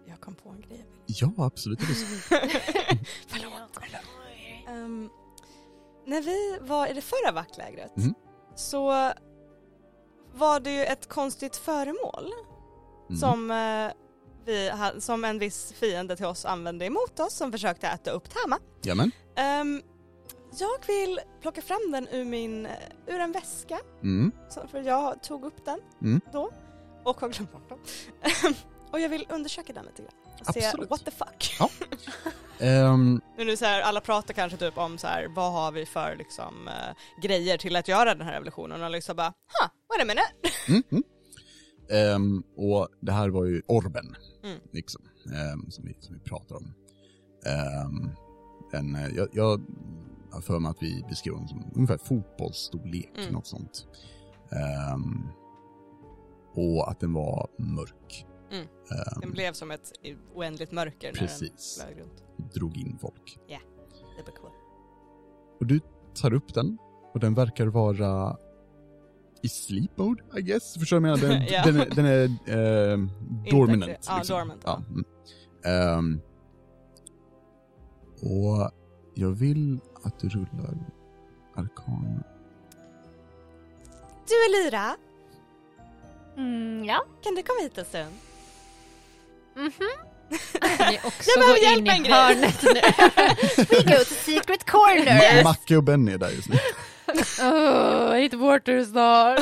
[SPEAKER 4] Jag kom på en grej.
[SPEAKER 1] Ja, absolut. Mm.
[SPEAKER 4] Förlåt. Ehm, när vi var i det förra vaktlägret
[SPEAKER 1] Mm.
[SPEAKER 4] så var det ju ett konstigt föremål
[SPEAKER 1] Mm.
[SPEAKER 4] som, eh, vi, ha- som en viss fiende till oss använde emot oss som försökte äta upp Tama.
[SPEAKER 1] Jamen.
[SPEAKER 4] Ehm, jag vill plocka fram den ur, min, eh, ur en väska,
[SPEAKER 1] Mm.
[SPEAKER 4] så- för jag tog upp den
[SPEAKER 1] Mm.
[SPEAKER 4] då och har glömt bort den. och jag vill undersöka den lite grann. Och se,
[SPEAKER 1] Absolut.
[SPEAKER 4] what the fuck?
[SPEAKER 1] Ehm,
[SPEAKER 4] Men nu så här, alla pratar kanske typ om så här, vad har vi för liksom, eh, grejer till att göra den här revolutionen och liksom bara, ha, what a minute.
[SPEAKER 1] mm, mm. Ehm, och det här var ju orben,
[SPEAKER 4] Mm.
[SPEAKER 1] liksom, ehm, som, vi, som vi pratar om. Ehm, en, eh, jag, jag har för mig att vi beskrev den som ungefär fotbollsstorlek,
[SPEAKER 4] Mm.
[SPEAKER 1] något sånt. Ehm, och att den var mörk.
[SPEAKER 4] Mm.
[SPEAKER 1] Ehm,
[SPEAKER 4] Den blev som ett oändligt mörker
[SPEAKER 1] Precis.
[SPEAKER 4] när den flög runt.
[SPEAKER 1] drog in folk.
[SPEAKER 4] Det var cool.
[SPEAKER 1] Och du tar upp den och den verkar vara i sleep mode, I guess. Förstår du vad jag menar? Den,
[SPEAKER 4] Ja.
[SPEAKER 1] den är, den är eh, dorminant.
[SPEAKER 4] Inte- ja, dormant, ja.
[SPEAKER 1] mm. Ehm, och jag vill att du rullar arkan.
[SPEAKER 4] Du Elira,
[SPEAKER 7] Mm, ja.
[SPEAKER 4] kan du komma hit en stund?
[SPEAKER 5] Kan ni också
[SPEAKER 4] Jag behöver
[SPEAKER 5] gå in
[SPEAKER 4] hjälp med en
[SPEAKER 5] i
[SPEAKER 4] grej.
[SPEAKER 5] hörnet nu?
[SPEAKER 7] We go to secret corner.
[SPEAKER 1] Ma- Macke och Benny är där just nu.
[SPEAKER 5] Åh, hit water snart.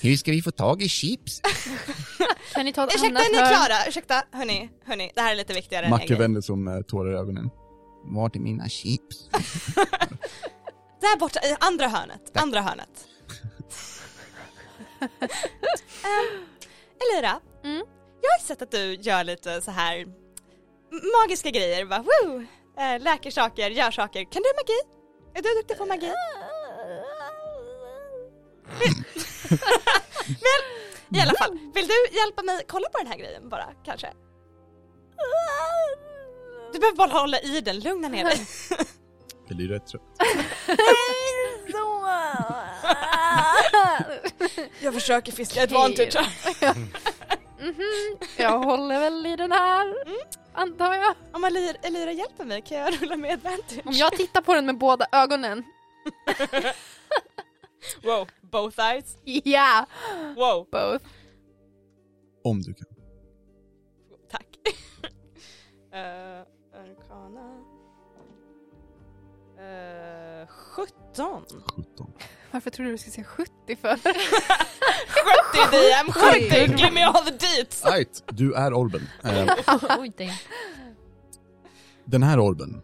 [SPEAKER 1] Hur ska vi få tag i chips?
[SPEAKER 5] Kan ni ta ett
[SPEAKER 4] Ursäkta,
[SPEAKER 5] annat
[SPEAKER 4] är ni
[SPEAKER 5] hörn?
[SPEAKER 4] klara? Ursäkta, hörni, hörni, det här är lite viktigare än en
[SPEAKER 1] Macke
[SPEAKER 4] grej.
[SPEAKER 1] vänder sig om med eh, tårar i ögonen. Vart är mina chips?
[SPEAKER 4] Där borta, i andra hörnet. Andra hörnet. Ehm, Elira,
[SPEAKER 5] Mm.
[SPEAKER 4] jag har ju sett att du gör lite så här magiska grejer. Bara, woo! Eh, läker saker, gör saker. Kan du magi? Är du duktig på magi? I alla fall, vill du hjälpa mig kolla på den här grejen bara, kanske? Du behöver bara hålla i den, lugna ner dig.
[SPEAKER 1] Det blir rätt trött.
[SPEAKER 4] Jag försöker fiska ett
[SPEAKER 5] advantage här. Mhm. Jag håller väl i den här, antar jag.
[SPEAKER 4] Om Elira, Elira hjälper mig kan jag rulla med advantage?
[SPEAKER 5] Om jag tittar på den med båda ögonen.
[SPEAKER 4] Wow, both eyes?
[SPEAKER 5] Ja,
[SPEAKER 4] Wow,
[SPEAKER 5] both.
[SPEAKER 1] Om du kan.
[SPEAKER 4] tack. Eh, Arkana. Eh, 17.
[SPEAKER 1] 17.
[SPEAKER 5] Varför tror du du skulle säga 70 för?
[SPEAKER 4] 70 DM, 70! Give me all the deets!
[SPEAKER 1] Right, du är Orben. Ehm,
[SPEAKER 7] Oj, det är
[SPEAKER 1] Den här orben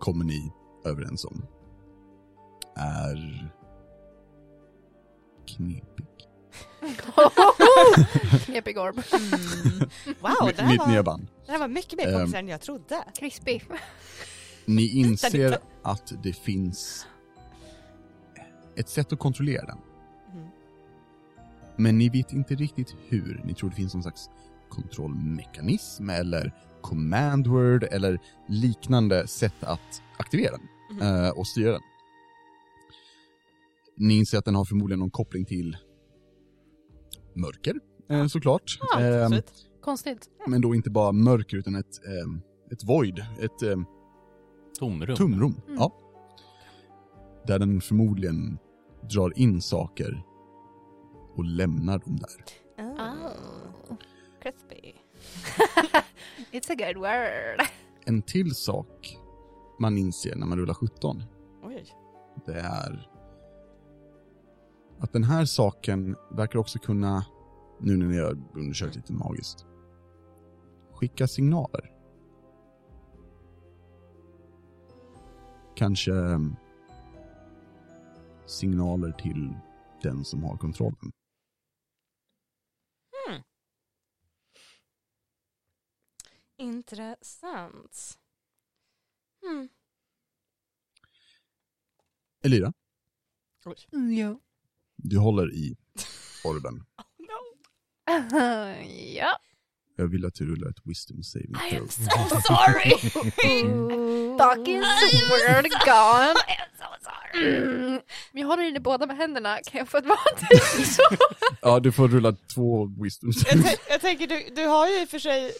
[SPEAKER 1] kommer ni överens om är knepig.
[SPEAKER 5] Knepig orb.
[SPEAKER 4] Mm. Wow, det här,
[SPEAKER 1] Mitt nya
[SPEAKER 4] var,
[SPEAKER 1] band.
[SPEAKER 4] det här var mycket mer
[SPEAKER 1] Ehm.
[SPEAKER 4] komplicerat än jag trodde.
[SPEAKER 5] Krispig.
[SPEAKER 1] Ni inser att det finns ett sätt att kontrollera den Men ni vet inte riktigt hur. Ni tror det finns någon slags kontrollmekanism eller command word eller liknande sätt att aktivera den
[SPEAKER 4] Mhm.
[SPEAKER 1] eh, och styra den. Ni inser att den har förmodligen någon koppling till mörker, eh, såklart.
[SPEAKER 4] Ja,
[SPEAKER 1] Ehm,
[SPEAKER 4] sweet.
[SPEAKER 2] Konstigt.
[SPEAKER 1] men då inte bara mörker utan ett, ehm, ett void, ett ehm,
[SPEAKER 3] Tomrum.
[SPEAKER 1] Tumrum, ja. Där den förmodligen drar in saker och lämnar dem där.
[SPEAKER 7] Oh.
[SPEAKER 4] Crispy.
[SPEAKER 7] It's a good word.
[SPEAKER 1] En till sak man inser när man rullar 17,
[SPEAKER 4] Oj.
[SPEAKER 1] det är att den här saken verkar också kunna, nu när ni har undersökt lite magiskt, skicka signaler. Kanske ehm, signaler till den som har kontrollen.
[SPEAKER 4] Intressant. Mm.
[SPEAKER 1] Elira,
[SPEAKER 4] Oj.
[SPEAKER 5] Ja.
[SPEAKER 1] du håller i orben.
[SPEAKER 5] ja.
[SPEAKER 1] Jag vill att du rullar ett wisdom saving
[SPEAKER 7] I am
[SPEAKER 1] throw.
[SPEAKER 7] so sorry. Bakis word gone. I am so sorry.
[SPEAKER 5] Mm. Jag håller i det båda med händerna. Kan jag få ett vanligt?
[SPEAKER 1] Ja, du får rulla två wisdom
[SPEAKER 4] Jag,
[SPEAKER 1] saving.
[SPEAKER 4] tän- jag tänker, du, du har ju i och för sig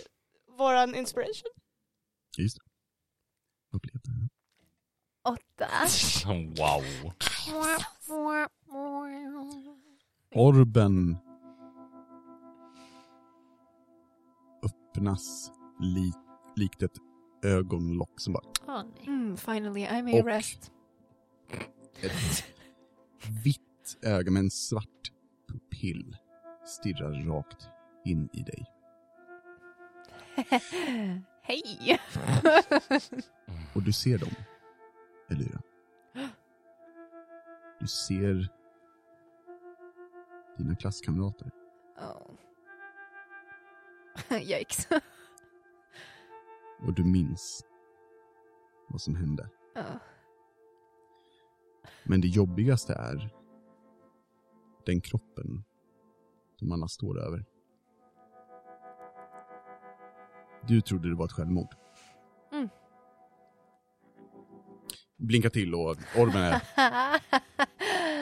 [SPEAKER 4] våran inspiration.
[SPEAKER 1] Upplevt.
[SPEAKER 5] Åtta.
[SPEAKER 3] Wow. Oh,
[SPEAKER 1] Orben öppnas li, likt ett ögonlock som bara
[SPEAKER 7] Åh, nej.
[SPEAKER 5] Mm, finally, I may
[SPEAKER 1] Och-
[SPEAKER 5] rest.
[SPEAKER 1] ett vitt öga med en svart pupill stirrar rakt in i dig.
[SPEAKER 5] Hej!
[SPEAKER 1] Och du ser dem, Elira. Du ser dina klasskamrater.
[SPEAKER 5] Oh. Yikes.
[SPEAKER 1] och du minns vad som hände.
[SPEAKER 5] Ja.
[SPEAKER 1] Men det jobbigaste är den kroppen som alla står över. Du trodde det var ett självmord.
[SPEAKER 5] Mm.
[SPEAKER 1] Blinka till och ormen är...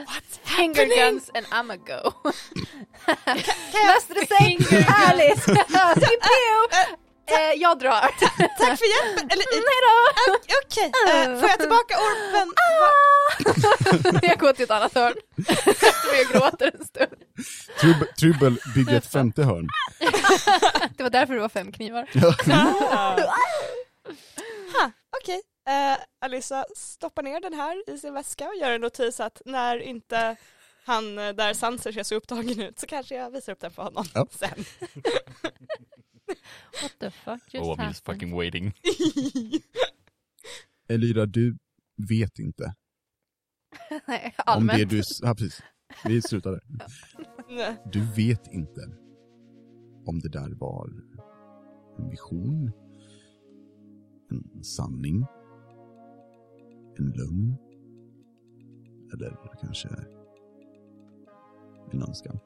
[SPEAKER 5] What's Finger guns and I'ma go.
[SPEAKER 7] Måste du säga
[SPEAKER 5] Härligt! Pew, pew. Eh, jag drar.
[SPEAKER 4] Tack för hjälpen! Eller, i-
[SPEAKER 5] Hejdå!
[SPEAKER 4] Ah, Okej, eh, får jag tillbaka orben?
[SPEAKER 5] Ah. jag går till ett annat hörn. Sätter mig och gråter en stund.
[SPEAKER 1] Trubbel, trubbel bygger ett femte hörn.
[SPEAKER 5] Det var därför det var fem knivar.
[SPEAKER 4] Ah. Ha, Okej, Eh, Alissa stoppar ner den här i sin väska och gör en notis att när inte han eh, där Sanser ser så upptagen ut så kanske jag visar upp den för honom
[SPEAKER 1] Ja.
[SPEAKER 4] sen.
[SPEAKER 7] What the fuck just
[SPEAKER 3] Oh, I'm just fucking waiting.
[SPEAKER 1] Elira, du vet inte
[SPEAKER 5] Nej,
[SPEAKER 1] om
[SPEAKER 5] allmänt.
[SPEAKER 1] det du... Ja, precis. Vi slutar där.
[SPEAKER 4] Nej.
[SPEAKER 1] Du vet inte om det där var en vision, en sanning, en lögn eller kanske en önskan.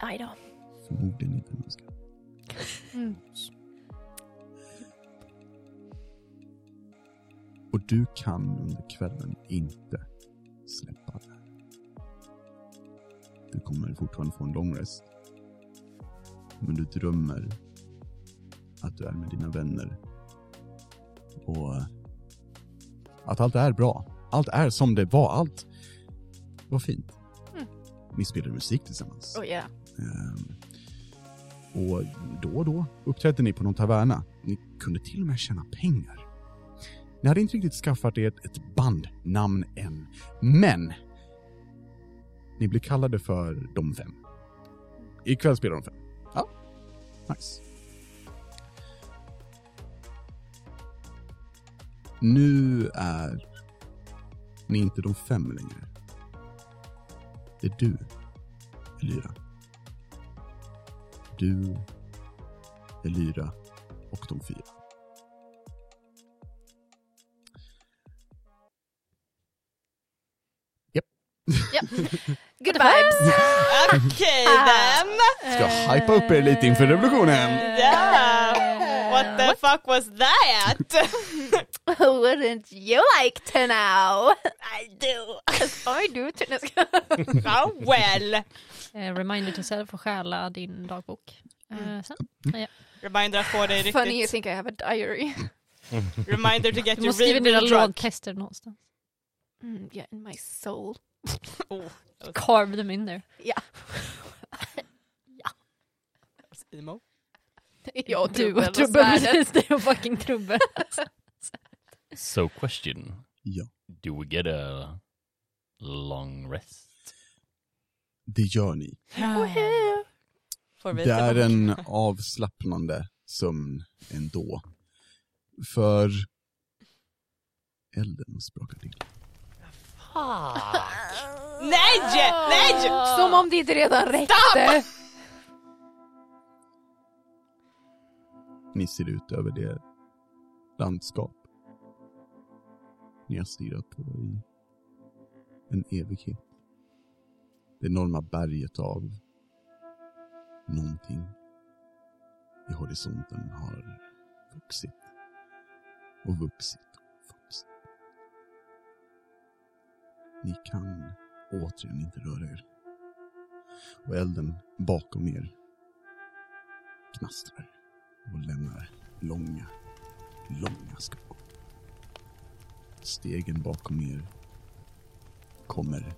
[SPEAKER 5] Aj då.
[SPEAKER 1] Förmodligen inte en önskan.
[SPEAKER 5] Mm.
[SPEAKER 1] Och du kan under kvällen inte släppa det. här. Du kommer fortfarande få en lång rest. Men du drömmer att du är med dina vänner. Och eh, att allt är bra. Allt är som det var. Allt var fint.
[SPEAKER 5] Mm.
[SPEAKER 1] Ni spelar musik tillsammans.
[SPEAKER 5] Oh yeah.
[SPEAKER 1] Ehm, Och då och då uppträdde ni på någon taverna. Ni kunde till och med tjäna pengar. Ni hade inte riktigt skaffat er ett bandnamn än, men ni blev kallade för De fem. Ikväll spelar De fem. Ja, nice. Nu är ni inte De fem längre. Det är du, Elira. Du, Elira och de fyra. Japp.
[SPEAKER 5] Good
[SPEAKER 2] vibes.
[SPEAKER 4] Okej
[SPEAKER 5] Ah.
[SPEAKER 4] then!
[SPEAKER 1] Ska
[SPEAKER 4] Eh.
[SPEAKER 1] hypa upp er lite inför revolutionen.
[SPEAKER 4] Yeah! What the fuck was that?
[SPEAKER 2] Wouldn't you like to know? I do. I do. too. Nej, jag skojar.
[SPEAKER 4] Oh well!
[SPEAKER 5] Eh, reminder till själv att stjäla din dagbok.
[SPEAKER 4] Mm.
[SPEAKER 5] Eh, sen.
[SPEAKER 4] Reminder att få dig
[SPEAKER 2] Funny you
[SPEAKER 4] riktigt...
[SPEAKER 2] think I have a diary.
[SPEAKER 4] Reminder to get
[SPEAKER 5] Du
[SPEAKER 4] you
[SPEAKER 5] måste skriva dina
[SPEAKER 4] really drunk.
[SPEAKER 5] lågtester någonstans.
[SPEAKER 2] Mm, yeah, in my soul.
[SPEAKER 4] Oh,
[SPEAKER 5] Carve them in there.
[SPEAKER 4] emo.
[SPEAKER 2] Jag och
[SPEAKER 5] du
[SPEAKER 2] trubbel.
[SPEAKER 5] och trubbel. Precis, det är fucking trubbel.
[SPEAKER 3] So question.
[SPEAKER 1] Ja.
[SPEAKER 3] Do we get a long rest?
[SPEAKER 1] Det gör ni.
[SPEAKER 4] Får vi
[SPEAKER 1] Det är
[SPEAKER 4] tillbaka.
[SPEAKER 1] en avslappnande sömn ändå. För elden sprakar till.
[SPEAKER 4] Nej! Nej!
[SPEAKER 5] Ah.
[SPEAKER 2] Som om det inte redan räckte.
[SPEAKER 1] Ni ser ut över det landskap ni har stirrat på i en evighet. Det enorma berget av någonting i horisonten har vuxit och vuxit och vuxit. Ni kan återigen inte röra er. Och elden bakom er knastrar och lämnar långa, långa skor. Stegen bakom er kommer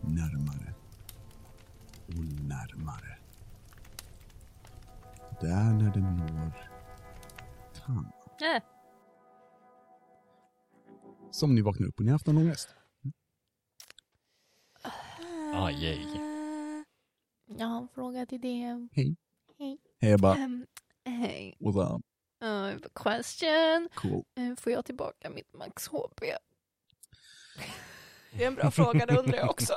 [SPEAKER 1] närmare och närmare. Det är när den når Tan
[SPEAKER 5] Äh.
[SPEAKER 1] som ni vaknar upp och ni har haft en ångest.
[SPEAKER 3] Ah, yay.
[SPEAKER 2] Ah.
[SPEAKER 5] Jag har en fråga till det.
[SPEAKER 1] Hej Ebba,
[SPEAKER 2] Um, hey,
[SPEAKER 1] what's up?
[SPEAKER 2] uh, question.
[SPEAKER 1] Cool.
[SPEAKER 2] Uh, får jag tillbaka mitt max Ah, HP?
[SPEAKER 4] Det är en bra fråga, det undrar jag också.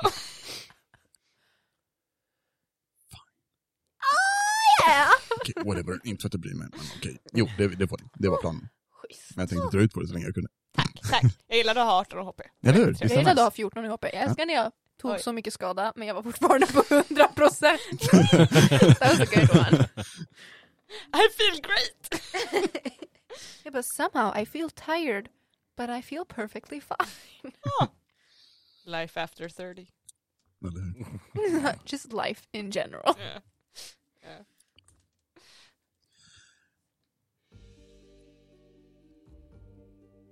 [SPEAKER 2] Ah, Yeah.
[SPEAKER 1] Okej, whatever. Inte för att jag bryr mig, men okej. Jo, det, det får ni. Det var planen.
[SPEAKER 2] Schysst.
[SPEAKER 1] Men jag tänkte dra ut på det så länge jag kunde.
[SPEAKER 4] Tack. Jag gillade att ha 18 HP.
[SPEAKER 1] Eller hur?
[SPEAKER 2] Jag
[SPEAKER 1] Visst är
[SPEAKER 2] gillade
[SPEAKER 1] det
[SPEAKER 2] att ha
[SPEAKER 1] nice?
[SPEAKER 2] 14 i HP. Jag älskar när jag tog
[SPEAKER 4] Oj.
[SPEAKER 2] så mycket skada men jag var fortfarande på 100 procent. That was a good one.
[SPEAKER 4] I feel great!
[SPEAKER 2] Yeah, but somehow I feel tired but I feel perfectly fine.
[SPEAKER 4] Life after 30.
[SPEAKER 1] Eller hur?
[SPEAKER 2] Just life in general.
[SPEAKER 4] Yeah.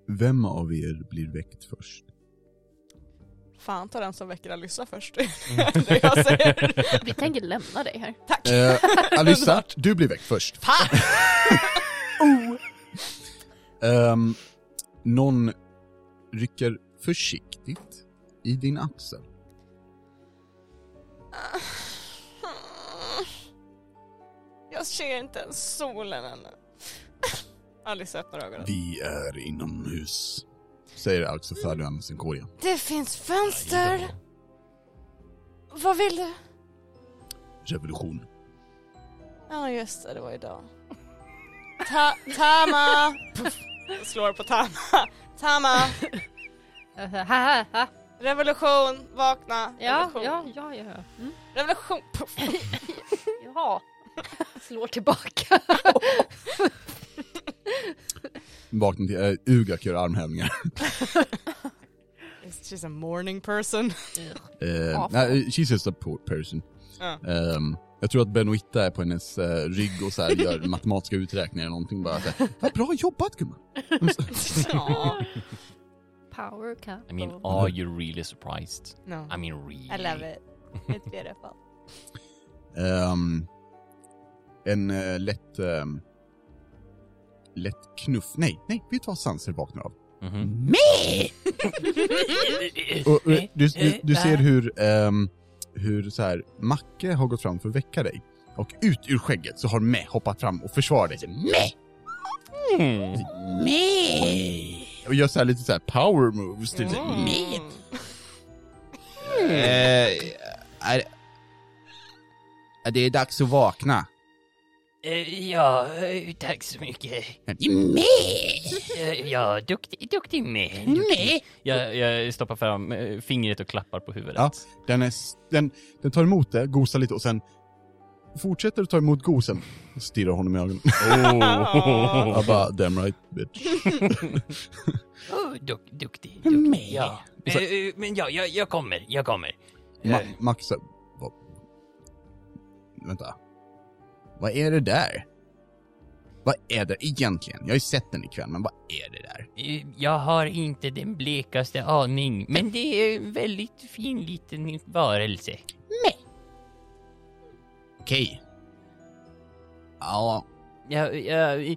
[SPEAKER 1] Vem av er blir väckt först?
[SPEAKER 4] Fan ta den som väcker Alyssa först. det är jag säger.
[SPEAKER 2] Vi tänker lämna dig här.
[SPEAKER 4] Tack!
[SPEAKER 1] Eh, Alissa, du blir väckt först.
[SPEAKER 4] Fan!
[SPEAKER 1] Ehm, någon rycker försiktigt i din axel.
[SPEAKER 4] Jag ser inte ens solen ännu. Alice öppnar ögonen.
[SPEAKER 1] Vi är inomhus, säger alltså Ferdinand Sinkoria.
[SPEAKER 4] Det finns fönster! Vad vill du?
[SPEAKER 1] Revolution.
[SPEAKER 4] Ja just det, det var idag. Ta Tama! Jag slår på Tama. Tama!
[SPEAKER 5] Jag säger, eh, ha, ha, ha.
[SPEAKER 4] Revolution! Vakna!
[SPEAKER 5] Ja,
[SPEAKER 4] Revolution!
[SPEAKER 5] ja, ja, ja. Mm.
[SPEAKER 4] Revolution! Puff.
[SPEAKER 5] ja. Slår tillbaka.
[SPEAKER 1] Vaknar till, eh, Ugak gör armhävningar.
[SPEAKER 4] She's a morning person.
[SPEAKER 1] Eh, nej, she's just a poor person.
[SPEAKER 4] Ja.
[SPEAKER 1] Ehm, jag tror att Benoitta är på hennes eh, rygg och så här gör matematiska uträkningar eller någonting bara så här, Vad bra jobbat gumman!
[SPEAKER 4] Aw.
[SPEAKER 5] Power cut.
[SPEAKER 3] I mean, are you really surprised?
[SPEAKER 4] no.
[SPEAKER 3] I mean, really?
[SPEAKER 4] I love it. It's beautiful.
[SPEAKER 1] Ehm, en eh, lätt... ehm, lätt knuff. Nej, nej, vet du vad Sanser vaknar av?
[SPEAKER 3] Mhm.
[SPEAKER 1] Och, eh, du, du, du ser hur, ehm, hur så här, Macke har gått fram för att väcka dig. Och ut ur skägget så har Meh hoppat fram och försvarar dig. Så, Meh! Meh! Och gör så här lite så här power moves. Typ så här, Meh!
[SPEAKER 8] Eh, är, är det är dags att vakna.
[SPEAKER 6] Eh, Ja, eh, tack så mycket. Eh, Ja, duktig, duktig med. Duktig.
[SPEAKER 3] Jag, jag stoppar fram eh, fingret och klappar på huvudet.
[SPEAKER 1] Ja. Den, är, s- den, den tar emot det, gosar lite och sen fortsätter att ta emot gosen. Och stirrar honom i ögonen.
[SPEAKER 4] Åh.
[SPEAKER 1] Jag bara, damn right bitch.
[SPEAKER 6] Oh, duk, duktig, duktig. Ja.
[SPEAKER 1] Så-
[SPEAKER 6] Eh, Men ja, jag, jag kommer, jag kommer.
[SPEAKER 1] Ma Max så- vad, Vänta. Vad är det där? Vad är det egentligen? Jag har ju sett den ikväll, men vad är det där?
[SPEAKER 6] Eh, Jag har inte den blekaste aning, men det är en väldigt fin liten varelse.
[SPEAKER 1] Okej. Ja,
[SPEAKER 6] Ja, ja, eh,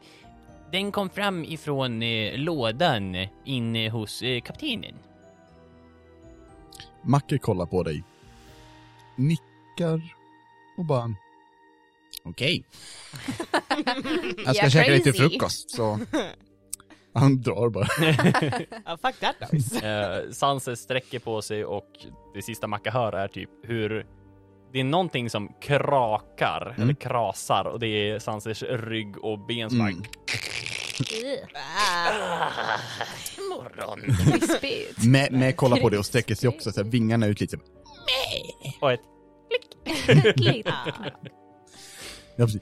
[SPEAKER 6] den kom fram ifrån eh, lådan inne hos eh, kaptenen.
[SPEAKER 1] Macke kollar på dig. Nickar och bara... Okej. Jag ska
[SPEAKER 7] Yeah,
[SPEAKER 1] käka lite
[SPEAKER 7] crazy.
[SPEAKER 1] frukost, så... Han drar bara.
[SPEAKER 4] Ja, fuck that noise.
[SPEAKER 3] Eh, Sanse sträcker på sig och det sista Macka hör är typ hur det är någonting som krakar eller krasar och det är Sanses rygg och ben som
[SPEAKER 1] Mm.
[SPEAKER 3] bara
[SPEAKER 6] Morgon.
[SPEAKER 7] Crispigt.
[SPEAKER 1] Med, med kolla på det och sträcker sig också, så här, vingarna ut lite.
[SPEAKER 3] och ett
[SPEAKER 5] Klipp.
[SPEAKER 1] Ja, precis.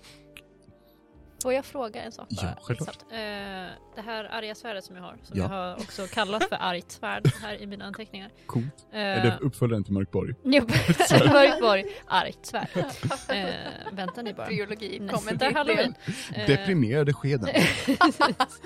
[SPEAKER 5] Får jag fråga en sak
[SPEAKER 1] Ja,
[SPEAKER 5] bara?
[SPEAKER 1] självklart.
[SPEAKER 5] Snabbt. Eh, det här arga svärdet som jag har, som
[SPEAKER 1] Ja.
[SPEAKER 5] jag har också kallat för argt svärd här i mina anteckningar.
[SPEAKER 1] Coolt.
[SPEAKER 5] Eh,
[SPEAKER 1] Är det uppföljaren till Mörkborg?
[SPEAKER 5] Jobb- Mörkborg, argt svärd. Eh, vänta ni bara.
[SPEAKER 7] Biologi kommer
[SPEAKER 5] Nästa
[SPEAKER 7] till
[SPEAKER 5] halloween.
[SPEAKER 7] halloween.
[SPEAKER 5] Eh,
[SPEAKER 1] Deprimerade skeden.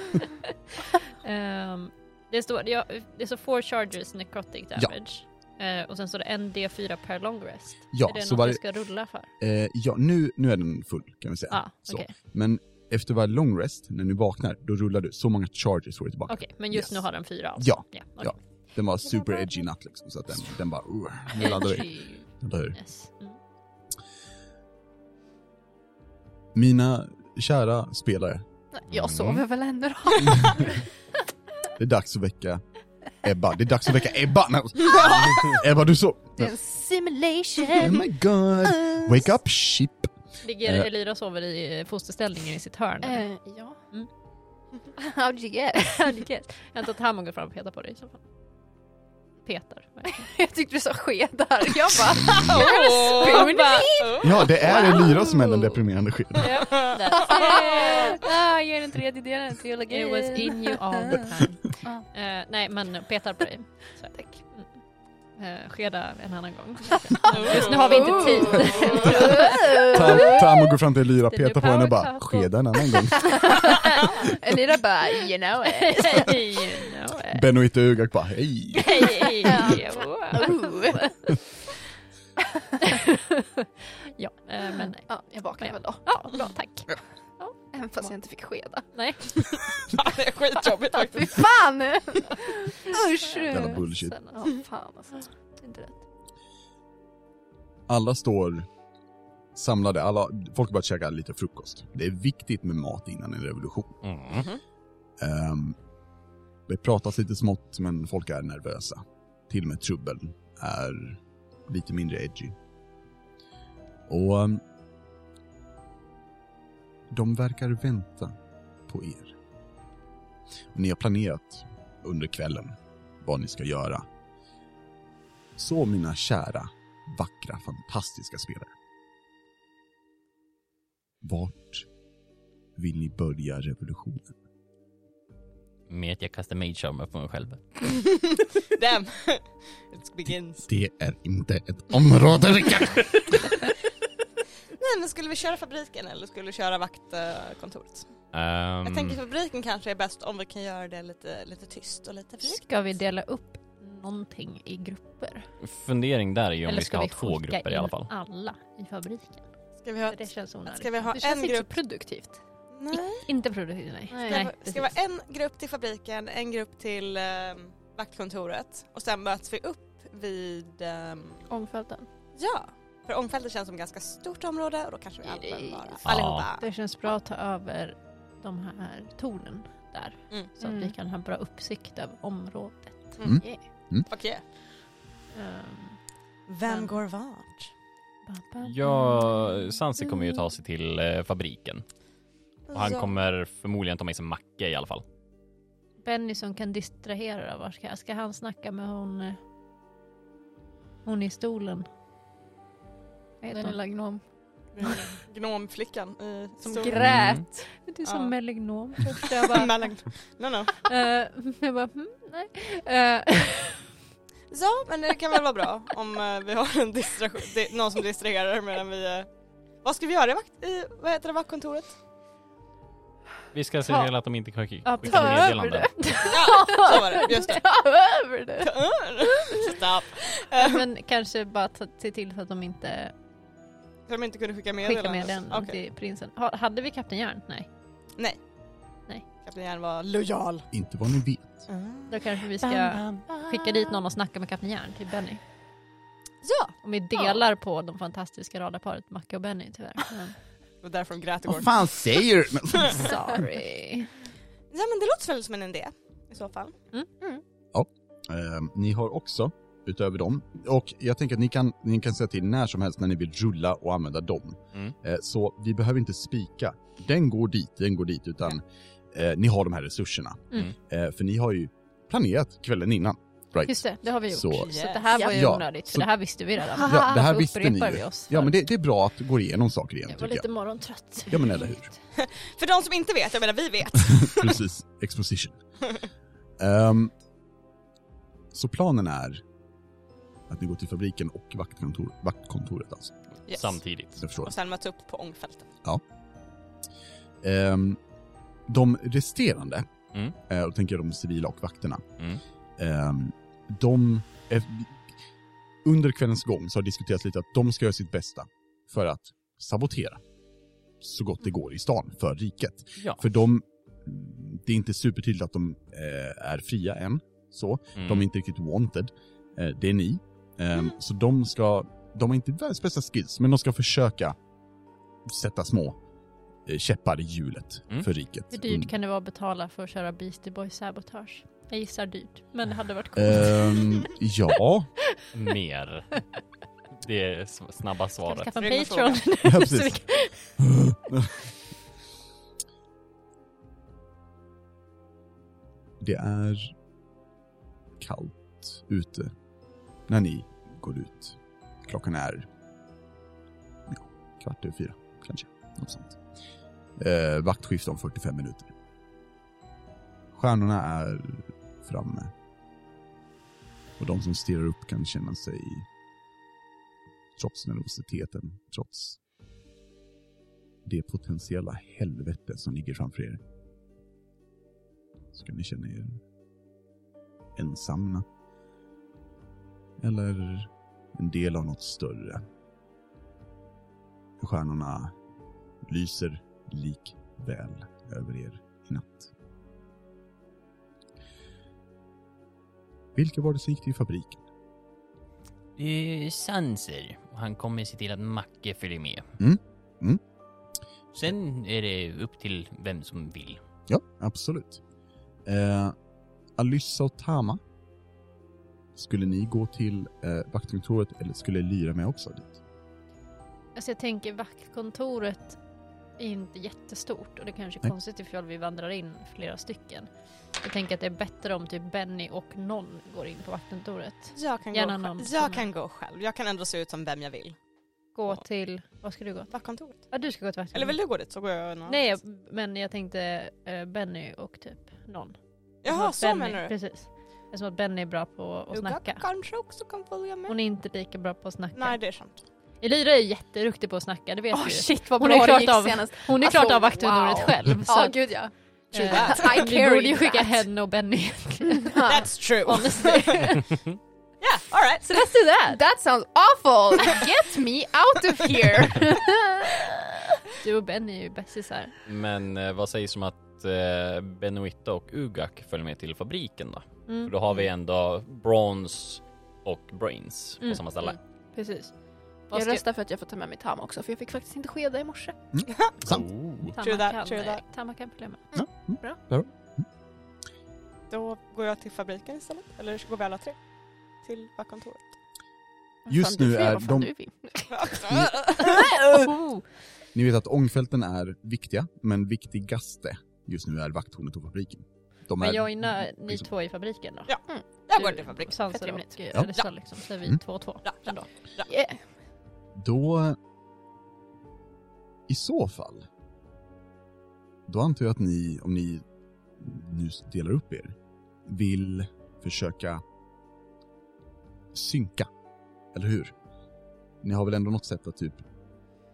[SPEAKER 5] ehm, det, står, ja, det står four charges necrotic damage. Eh, och sen står det en D4 per long rest.
[SPEAKER 1] Ja,
[SPEAKER 5] är det
[SPEAKER 1] så
[SPEAKER 5] något
[SPEAKER 1] varje,
[SPEAKER 5] jag ska rulla för?
[SPEAKER 1] eh, ja, nu, nu är den full kan vi säga.
[SPEAKER 5] Ja,
[SPEAKER 1] Så.
[SPEAKER 5] okej.
[SPEAKER 1] Men efter varje long rest, när ni vaknar, då rullar du så många charges får du tillbaka.
[SPEAKER 5] Okej, men just
[SPEAKER 1] Yes.
[SPEAKER 5] nu har den fyra alltså?
[SPEAKER 1] Ja,
[SPEAKER 5] ja,
[SPEAKER 1] ja. Den var super edgy natt liksom, så att den, den bara... Uh, nu laddar vi.
[SPEAKER 5] okej.
[SPEAKER 1] Eller hur?
[SPEAKER 5] Yes. Mm.
[SPEAKER 1] Mina kära spelare,
[SPEAKER 7] Jag
[SPEAKER 1] Mm.
[SPEAKER 7] sover väl ändå då?
[SPEAKER 1] det är dags att väcka Ebba. Det är dags att väcka Ebba! Nej. Ebba, du så...
[SPEAKER 7] Det är en
[SPEAKER 1] Oh
[SPEAKER 7] simulation.
[SPEAKER 1] my god! Wake up ship!
[SPEAKER 5] Ligger
[SPEAKER 1] Eh.
[SPEAKER 5] Elira och sover i eh, fosterställningen i sitt hörn? eller?
[SPEAKER 7] Eh, ja.
[SPEAKER 5] Mm.
[SPEAKER 7] How'd you get?
[SPEAKER 5] Jag antar att Hammond går fram och petar på dig i så fall. Petar.
[SPEAKER 7] Jag tyckte du sa skedar. Jag bara,
[SPEAKER 4] Åh.
[SPEAKER 1] Ja, det är Elira som är den deprimerande skeden.
[SPEAKER 5] ah, jag är den tredje delen teologi. It was in you all the time. Eh, nej, men petar på dig. Så. Tack. Mm. Eh, skeda en annan gång. Just nu har vi
[SPEAKER 4] Oh.
[SPEAKER 5] inte tid.
[SPEAKER 1] Tam, Tam går fram till Elira,
[SPEAKER 5] Det är
[SPEAKER 1] petar på henne och
[SPEAKER 5] power
[SPEAKER 1] bara
[SPEAKER 5] couple.
[SPEAKER 1] skeda en annan gång.
[SPEAKER 7] Elira bara, you know it.
[SPEAKER 5] you know it.
[SPEAKER 1] Benoit och Ugak bara hej!
[SPEAKER 5] Hey, wow.
[SPEAKER 7] Ooh.
[SPEAKER 5] ja, eh, men nej.
[SPEAKER 7] Ja, jag vaknade väl då.
[SPEAKER 5] Ja, bra, tack.
[SPEAKER 7] Även fast jag inte fick skeda.
[SPEAKER 5] Nej.
[SPEAKER 4] Fan, Det är skitjobbigt
[SPEAKER 7] Fy
[SPEAKER 4] faktiskt.
[SPEAKER 7] fan! Usch!
[SPEAKER 1] Jävla bullshit.
[SPEAKER 5] Sen,
[SPEAKER 7] Ja, fan alltså. Det är Inte rätt.
[SPEAKER 1] alla står samlade, alla, folk har börjat käka lite frukost. Det är viktigt med mat innan en revolution.
[SPEAKER 3] Mm.
[SPEAKER 1] Ehm, det pratas lite smått, men folk är nervösa. Till och med trubbel är lite mindre edgy. Och ehm, de verkar vänta på er. Och ni har planerat under kvällen vad ni ska göra. Så mina kära vackra, fantastiska spelare. Vart vill ni börja revolutionen?
[SPEAKER 3] med att jag kastar mage armor på mig själv.
[SPEAKER 4] Damn. It begins.
[SPEAKER 1] Det är inte ett område, Rickard!
[SPEAKER 4] Nej men skulle vi köra fabriken eller skulle vi köra vaktkontoret?
[SPEAKER 3] Mm.
[SPEAKER 4] Jag tänker
[SPEAKER 3] Ehm,
[SPEAKER 4] fabriken kanske är bäst om vi kan göra det lite, lite tyst och lite försiktigt.
[SPEAKER 5] Ska vi dela upp någonting i grupper?
[SPEAKER 3] Fundering där är ju om
[SPEAKER 5] Eller
[SPEAKER 3] vi ska, ha två
[SPEAKER 5] skicka
[SPEAKER 3] grupper i alla
[SPEAKER 5] in
[SPEAKER 3] fall.
[SPEAKER 5] alla i fabriken?
[SPEAKER 4] Ska vi ha,
[SPEAKER 5] Det känns onödigt.
[SPEAKER 4] ska vi ha
[SPEAKER 7] Det
[SPEAKER 4] en
[SPEAKER 7] känns inte så
[SPEAKER 4] grupp?
[SPEAKER 7] produktivt.
[SPEAKER 4] Nej.
[SPEAKER 5] Inte produktivt, nej.
[SPEAKER 7] Nej.
[SPEAKER 4] Ska, vi-
[SPEAKER 5] precis.
[SPEAKER 4] ska vi ha en grupp till fabriken, en grupp till ehm, vaktkontoret och sen möts vi upp vid, ehm,
[SPEAKER 7] Ångfälten.
[SPEAKER 4] ja, för ångfältet känns som ett ganska stort område och då kanske vi alla behöver vara
[SPEAKER 7] Ja.
[SPEAKER 4] allihopa.
[SPEAKER 5] Det känns bra att ta över de här tornen där.
[SPEAKER 4] Mm.
[SPEAKER 5] Så att vi kan ha bra uppsikt över området.
[SPEAKER 1] Mm.
[SPEAKER 5] Yeah.
[SPEAKER 4] Okej.
[SPEAKER 5] Ehm,
[SPEAKER 4] Vem
[SPEAKER 5] Men-
[SPEAKER 4] går vart?
[SPEAKER 3] Ja, Sansi kommer ju
[SPEAKER 5] Mm.
[SPEAKER 3] ta sig till eh, fabriken. Och han kommer förmodligen ta med sig Macke i alla fall.
[SPEAKER 5] Benny som kan distrahera. Var ska, ska han snacka med hon... eh, Hon i stolen? Vad heter
[SPEAKER 2] Den
[SPEAKER 5] hon?
[SPEAKER 2] lilla gnom.
[SPEAKER 4] Gnomflickan i
[SPEAKER 2] Som
[SPEAKER 4] stor-
[SPEAKER 2] grät.
[SPEAKER 5] Det är som
[SPEAKER 4] Ja.
[SPEAKER 5] Melignom.
[SPEAKER 1] Mm.
[SPEAKER 5] Först jag bara...
[SPEAKER 4] Mellan- No, no.
[SPEAKER 5] eh, jag bara mm, nej. Eh,
[SPEAKER 4] Så, men det kan väl vara bra om eh, vi har en distraktion, di- någon som distraherar medan vi... eh, Vad ska vi göra i, vakt- i vad heter det, vaktkontoret?
[SPEAKER 3] Vi ska se
[SPEAKER 5] Ta-
[SPEAKER 3] till att de inte skickar
[SPEAKER 5] ja,
[SPEAKER 3] skickar
[SPEAKER 5] ta över
[SPEAKER 3] meddelande.
[SPEAKER 5] det.
[SPEAKER 4] Ja, så var det. Just det.
[SPEAKER 5] Ta över det.
[SPEAKER 4] Stopp.
[SPEAKER 5] Ja, Men kanske bara ta, se till så att de inte
[SPEAKER 4] För de inte kunde skicka
[SPEAKER 5] skickar
[SPEAKER 4] meddelanden. typ.
[SPEAKER 5] meddelanden
[SPEAKER 4] Okej.
[SPEAKER 5] till prinsen. Ha, hade vi Kapten Järn? Nej.
[SPEAKER 4] Kapten Järn var lojal.
[SPEAKER 1] Inte vad ni vet.
[SPEAKER 4] Ah.
[SPEAKER 5] Då kanske vi ska skicka dit någon och snacka med Kapten Järn till Benny.
[SPEAKER 4] Ja.
[SPEAKER 5] Om vi delar på de fantastiska radarparet Macke och Benny tyvärr. Men,
[SPEAKER 4] Det var därför de grät igår.
[SPEAKER 1] Vad fan säger du? Men-
[SPEAKER 5] sorry.
[SPEAKER 4] Ja men det låter väl som en idé i så fall.
[SPEAKER 1] Ehm, ni har också, utöver dem, och jag tänker att ni kan, ni kan säga till när som helst när ni vill rulla och använda dem.
[SPEAKER 3] Mm.
[SPEAKER 1] Eh, så vi behöver inte spika, den går dit, den går dit, utan eh, ni har de här resurserna.
[SPEAKER 5] Mm.
[SPEAKER 1] Eh, för ni har ju planerat kvällen innan. Right?
[SPEAKER 5] Just det, det har vi gjort.
[SPEAKER 1] Så-
[SPEAKER 5] Så, det här var ju
[SPEAKER 1] Ja,
[SPEAKER 5] onödigt för
[SPEAKER 1] så-
[SPEAKER 5] det här visste vi redan.
[SPEAKER 1] Ja, det här
[SPEAKER 5] Så
[SPEAKER 1] visste ni
[SPEAKER 5] alltså, upprepar
[SPEAKER 1] ju.
[SPEAKER 5] vi oss.
[SPEAKER 1] Ja men det, det är bra att gå igenom saker igen
[SPEAKER 5] jag var
[SPEAKER 1] tycker
[SPEAKER 5] lite morgontrött.
[SPEAKER 1] Ja, men eller hur?
[SPEAKER 4] För de som inte vet, jag menar vi vet.
[SPEAKER 1] jag. Precis, exposition. Ehm, så planen är att ni går till fabriken och vaktkontor, vaktkontoret alltså.
[SPEAKER 4] Yes.
[SPEAKER 3] Samtidigt.
[SPEAKER 1] Jag förstår.
[SPEAKER 4] Och sen möts upp på ångfälten.
[SPEAKER 1] Ehm, de resterande,
[SPEAKER 3] Mm.
[SPEAKER 1] eh, och då tänker jag de civila och vakterna,
[SPEAKER 3] Mm.
[SPEAKER 1] ehm, de... eh, under kvällens gång så har diskuterats lite att de ska göra sitt bästa för att sabotera så gott det går i stan för riket.
[SPEAKER 3] Ja.
[SPEAKER 1] För de... Det är inte supertydligt att de eh, är fria än, så.
[SPEAKER 3] Mm.
[SPEAKER 1] De är inte riktigt wanted. Eh, det är ni. Ehm, Så de ska, de har inte världens bästa skills, men de ska försöka sätta små eh, käppar i hjulet
[SPEAKER 3] Mm.
[SPEAKER 1] för riket.
[SPEAKER 5] Hur dyrt
[SPEAKER 1] Mm.
[SPEAKER 5] kan det vara att betala för att köra Beastie Boys sabotage? Jag gissar dyrt, men det hade varit coolt.
[SPEAKER 1] Ehm, ja,
[SPEAKER 3] Mer. Det är s- snabba
[SPEAKER 5] Ska vi
[SPEAKER 3] svaret.
[SPEAKER 5] skaffa en
[SPEAKER 4] Ring och
[SPEAKER 5] Patreon?
[SPEAKER 1] ja,
[SPEAKER 5] Så vi
[SPEAKER 1] precis.
[SPEAKER 5] kan-
[SPEAKER 1] Det är kallt ute när ni går ut. Klockan är ja, kvart över fyra, kanske. Något sånt. Eh, vaktskift om 45 minuter. Stjärnorna är framme. Och de som stirrar upp kan känna sig, trots nervositeten, trots det potentiella helvete som ligger framför er, så kan ni känna er ensamma. Eller en del av något större. Stjärnorna lyser likväl över er i natt. Vilka var det som gick till fabriken?
[SPEAKER 6] Eh, Sanser. Han kommer se till att Macke följer med.
[SPEAKER 1] Mm. Mm.
[SPEAKER 6] Sen är det upp till vem som vill.
[SPEAKER 1] Ja, absolut. Eh, Alyssa och Tama. Skulle ni gå till eh, vaktkontoret eller skulle Lyra med också dit?
[SPEAKER 5] Alltså jag tänker vaktkontoret är inte jättestort och det kanske är
[SPEAKER 1] Nej.
[SPEAKER 5] konstigt ifall vi vandrar in flera stycken. Jag tänker att det är bättre om typ Benny och någon går in på vaktkontoret.
[SPEAKER 4] Jag kan,
[SPEAKER 5] Gärna
[SPEAKER 4] gå,
[SPEAKER 5] någon
[SPEAKER 4] själv.
[SPEAKER 5] som
[SPEAKER 4] jag
[SPEAKER 5] är-
[SPEAKER 4] kan gå själv. Jag kan ändå se ut som vem jag vill.
[SPEAKER 5] Gå till, vad ska du gå?
[SPEAKER 4] Vaktkontoret.
[SPEAKER 5] Ja du ska gå till vaktkontoret.
[SPEAKER 4] Eller vill du gå dit så går jag någon
[SPEAKER 5] Mm. Nej
[SPEAKER 4] annanstans.
[SPEAKER 5] jag- men jag tänkte eh, Benny och typ någon.
[SPEAKER 4] Jaha, så
[SPEAKER 5] Benny,
[SPEAKER 4] menar du?
[SPEAKER 5] Precis. Eftersom att Benny är bra på att
[SPEAKER 4] Jo, jag
[SPEAKER 5] snacka.
[SPEAKER 4] kanske också kan följa med.
[SPEAKER 5] Hon är inte lika bra på att snacka.
[SPEAKER 4] Nej det är sant.
[SPEAKER 5] Elira är jätteduktig på att snacka, det vet
[SPEAKER 7] Åh
[SPEAKER 5] du ju.
[SPEAKER 7] shit vad
[SPEAKER 5] Hon
[SPEAKER 7] bra
[SPEAKER 5] är klart
[SPEAKER 7] det gick
[SPEAKER 5] av-
[SPEAKER 7] senast.
[SPEAKER 5] Hon är
[SPEAKER 7] Alltså,
[SPEAKER 5] klart av vaktkontoret
[SPEAKER 7] wow.
[SPEAKER 5] själv.
[SPEAKER 7] Ja
[SPEAKER 5] att,
[SPEAKER 7] gud ja.
[SPEAKER 4] True
[SPEAKER 5] eh,
[SPEAKER 4] that.
[SPEAKER 7] I
[SPEAKER 5] Vi borde ju
[SPEAKER 7] carried
[SPEAKER 5] skicka
[SPEAKER 7] that.
[SPEAKER 5] henne och Benny.
[SPEAKER 4] That's true.
[SPEAKER 5] Honestly.
[SPEAKER 4] Yeah, alright.
[SPEAKER 5] So let's do that!
[SPEAKER 7] That sounds awful! Get me out of here!
[SPEAKER 5] Du och Benny är ju bästisar.
[SPEAKER 3] Men eh, vad sägs om att eh, Benoitta och Ugak följer med till fabriken då?
[SPEAKER 5] Mm.
[SPEAKER 3] För då har vi ändå Bronze och Brains på
[SPEAKER 5] Mm,
[SPEAKER 3] samma ställe.
[SPEAKER 5] Precis. Vad
[SPEAKER 7] Jag
[SPEAKER 5] ska-
[SPEAKER 7] röstar för att jag får ta med mig Tam också för jag fick faktiskt inte skeda i morse.
[SPEAKER 1] Sant.
[SPEAKER 3] Oh.
[SPEAKER 5] Tamma
[SPEAKER 4] True that,
[SPEAKER 5] kan,
[SPEAKER 4] true that.
[SPEAKER 5] Tamma kan följa med.
[SPEAKER 1] Ja. Mm.
[SPEAKER 4] Då går jag till fabriken istället. Eller så går vi alla tre till vaktkontoret.
[SPEAKER 1] Just nu är de,
[SPEAKER 5] Oh.
[SPEAKER 1] ni vet att ångfälten är viktiga, men viktigaste just nu är vakttornet och fabriken. De
[SPEAKER 5] Men
[SPEAKER 1] är,
[SPEAKER 5] jag är nö- ni
[SPEAKER 1] liksom-
[SPEAKER 5] två i fabriken då?
[SPEAKER 4] Ja, Jag går till fabriken.
[SPEAKER 5] Sanser
[SPEAKER 7] Fett
[SPEAKER 5] och
[SPEAKER 7] rimligt.
[SPEAKER 5] eh,
[SPEAKER 1] Ja.
[SPEAKER 5] Rissa liksom, så är vi
[SPEAKER 1] Mm.
[SPEAKER 5] två och två.
[SPEAKER 4] Ja, ja.
[SPEAKER 5] Ändå.
[SPEAKER 7] Yeah.
[SPEAKER 1] Då... I så fall... Då antar jag att ni, om ni nu delar upp er, vill försöka synka. Eller hur? Ni har väl ändå något sätt att typ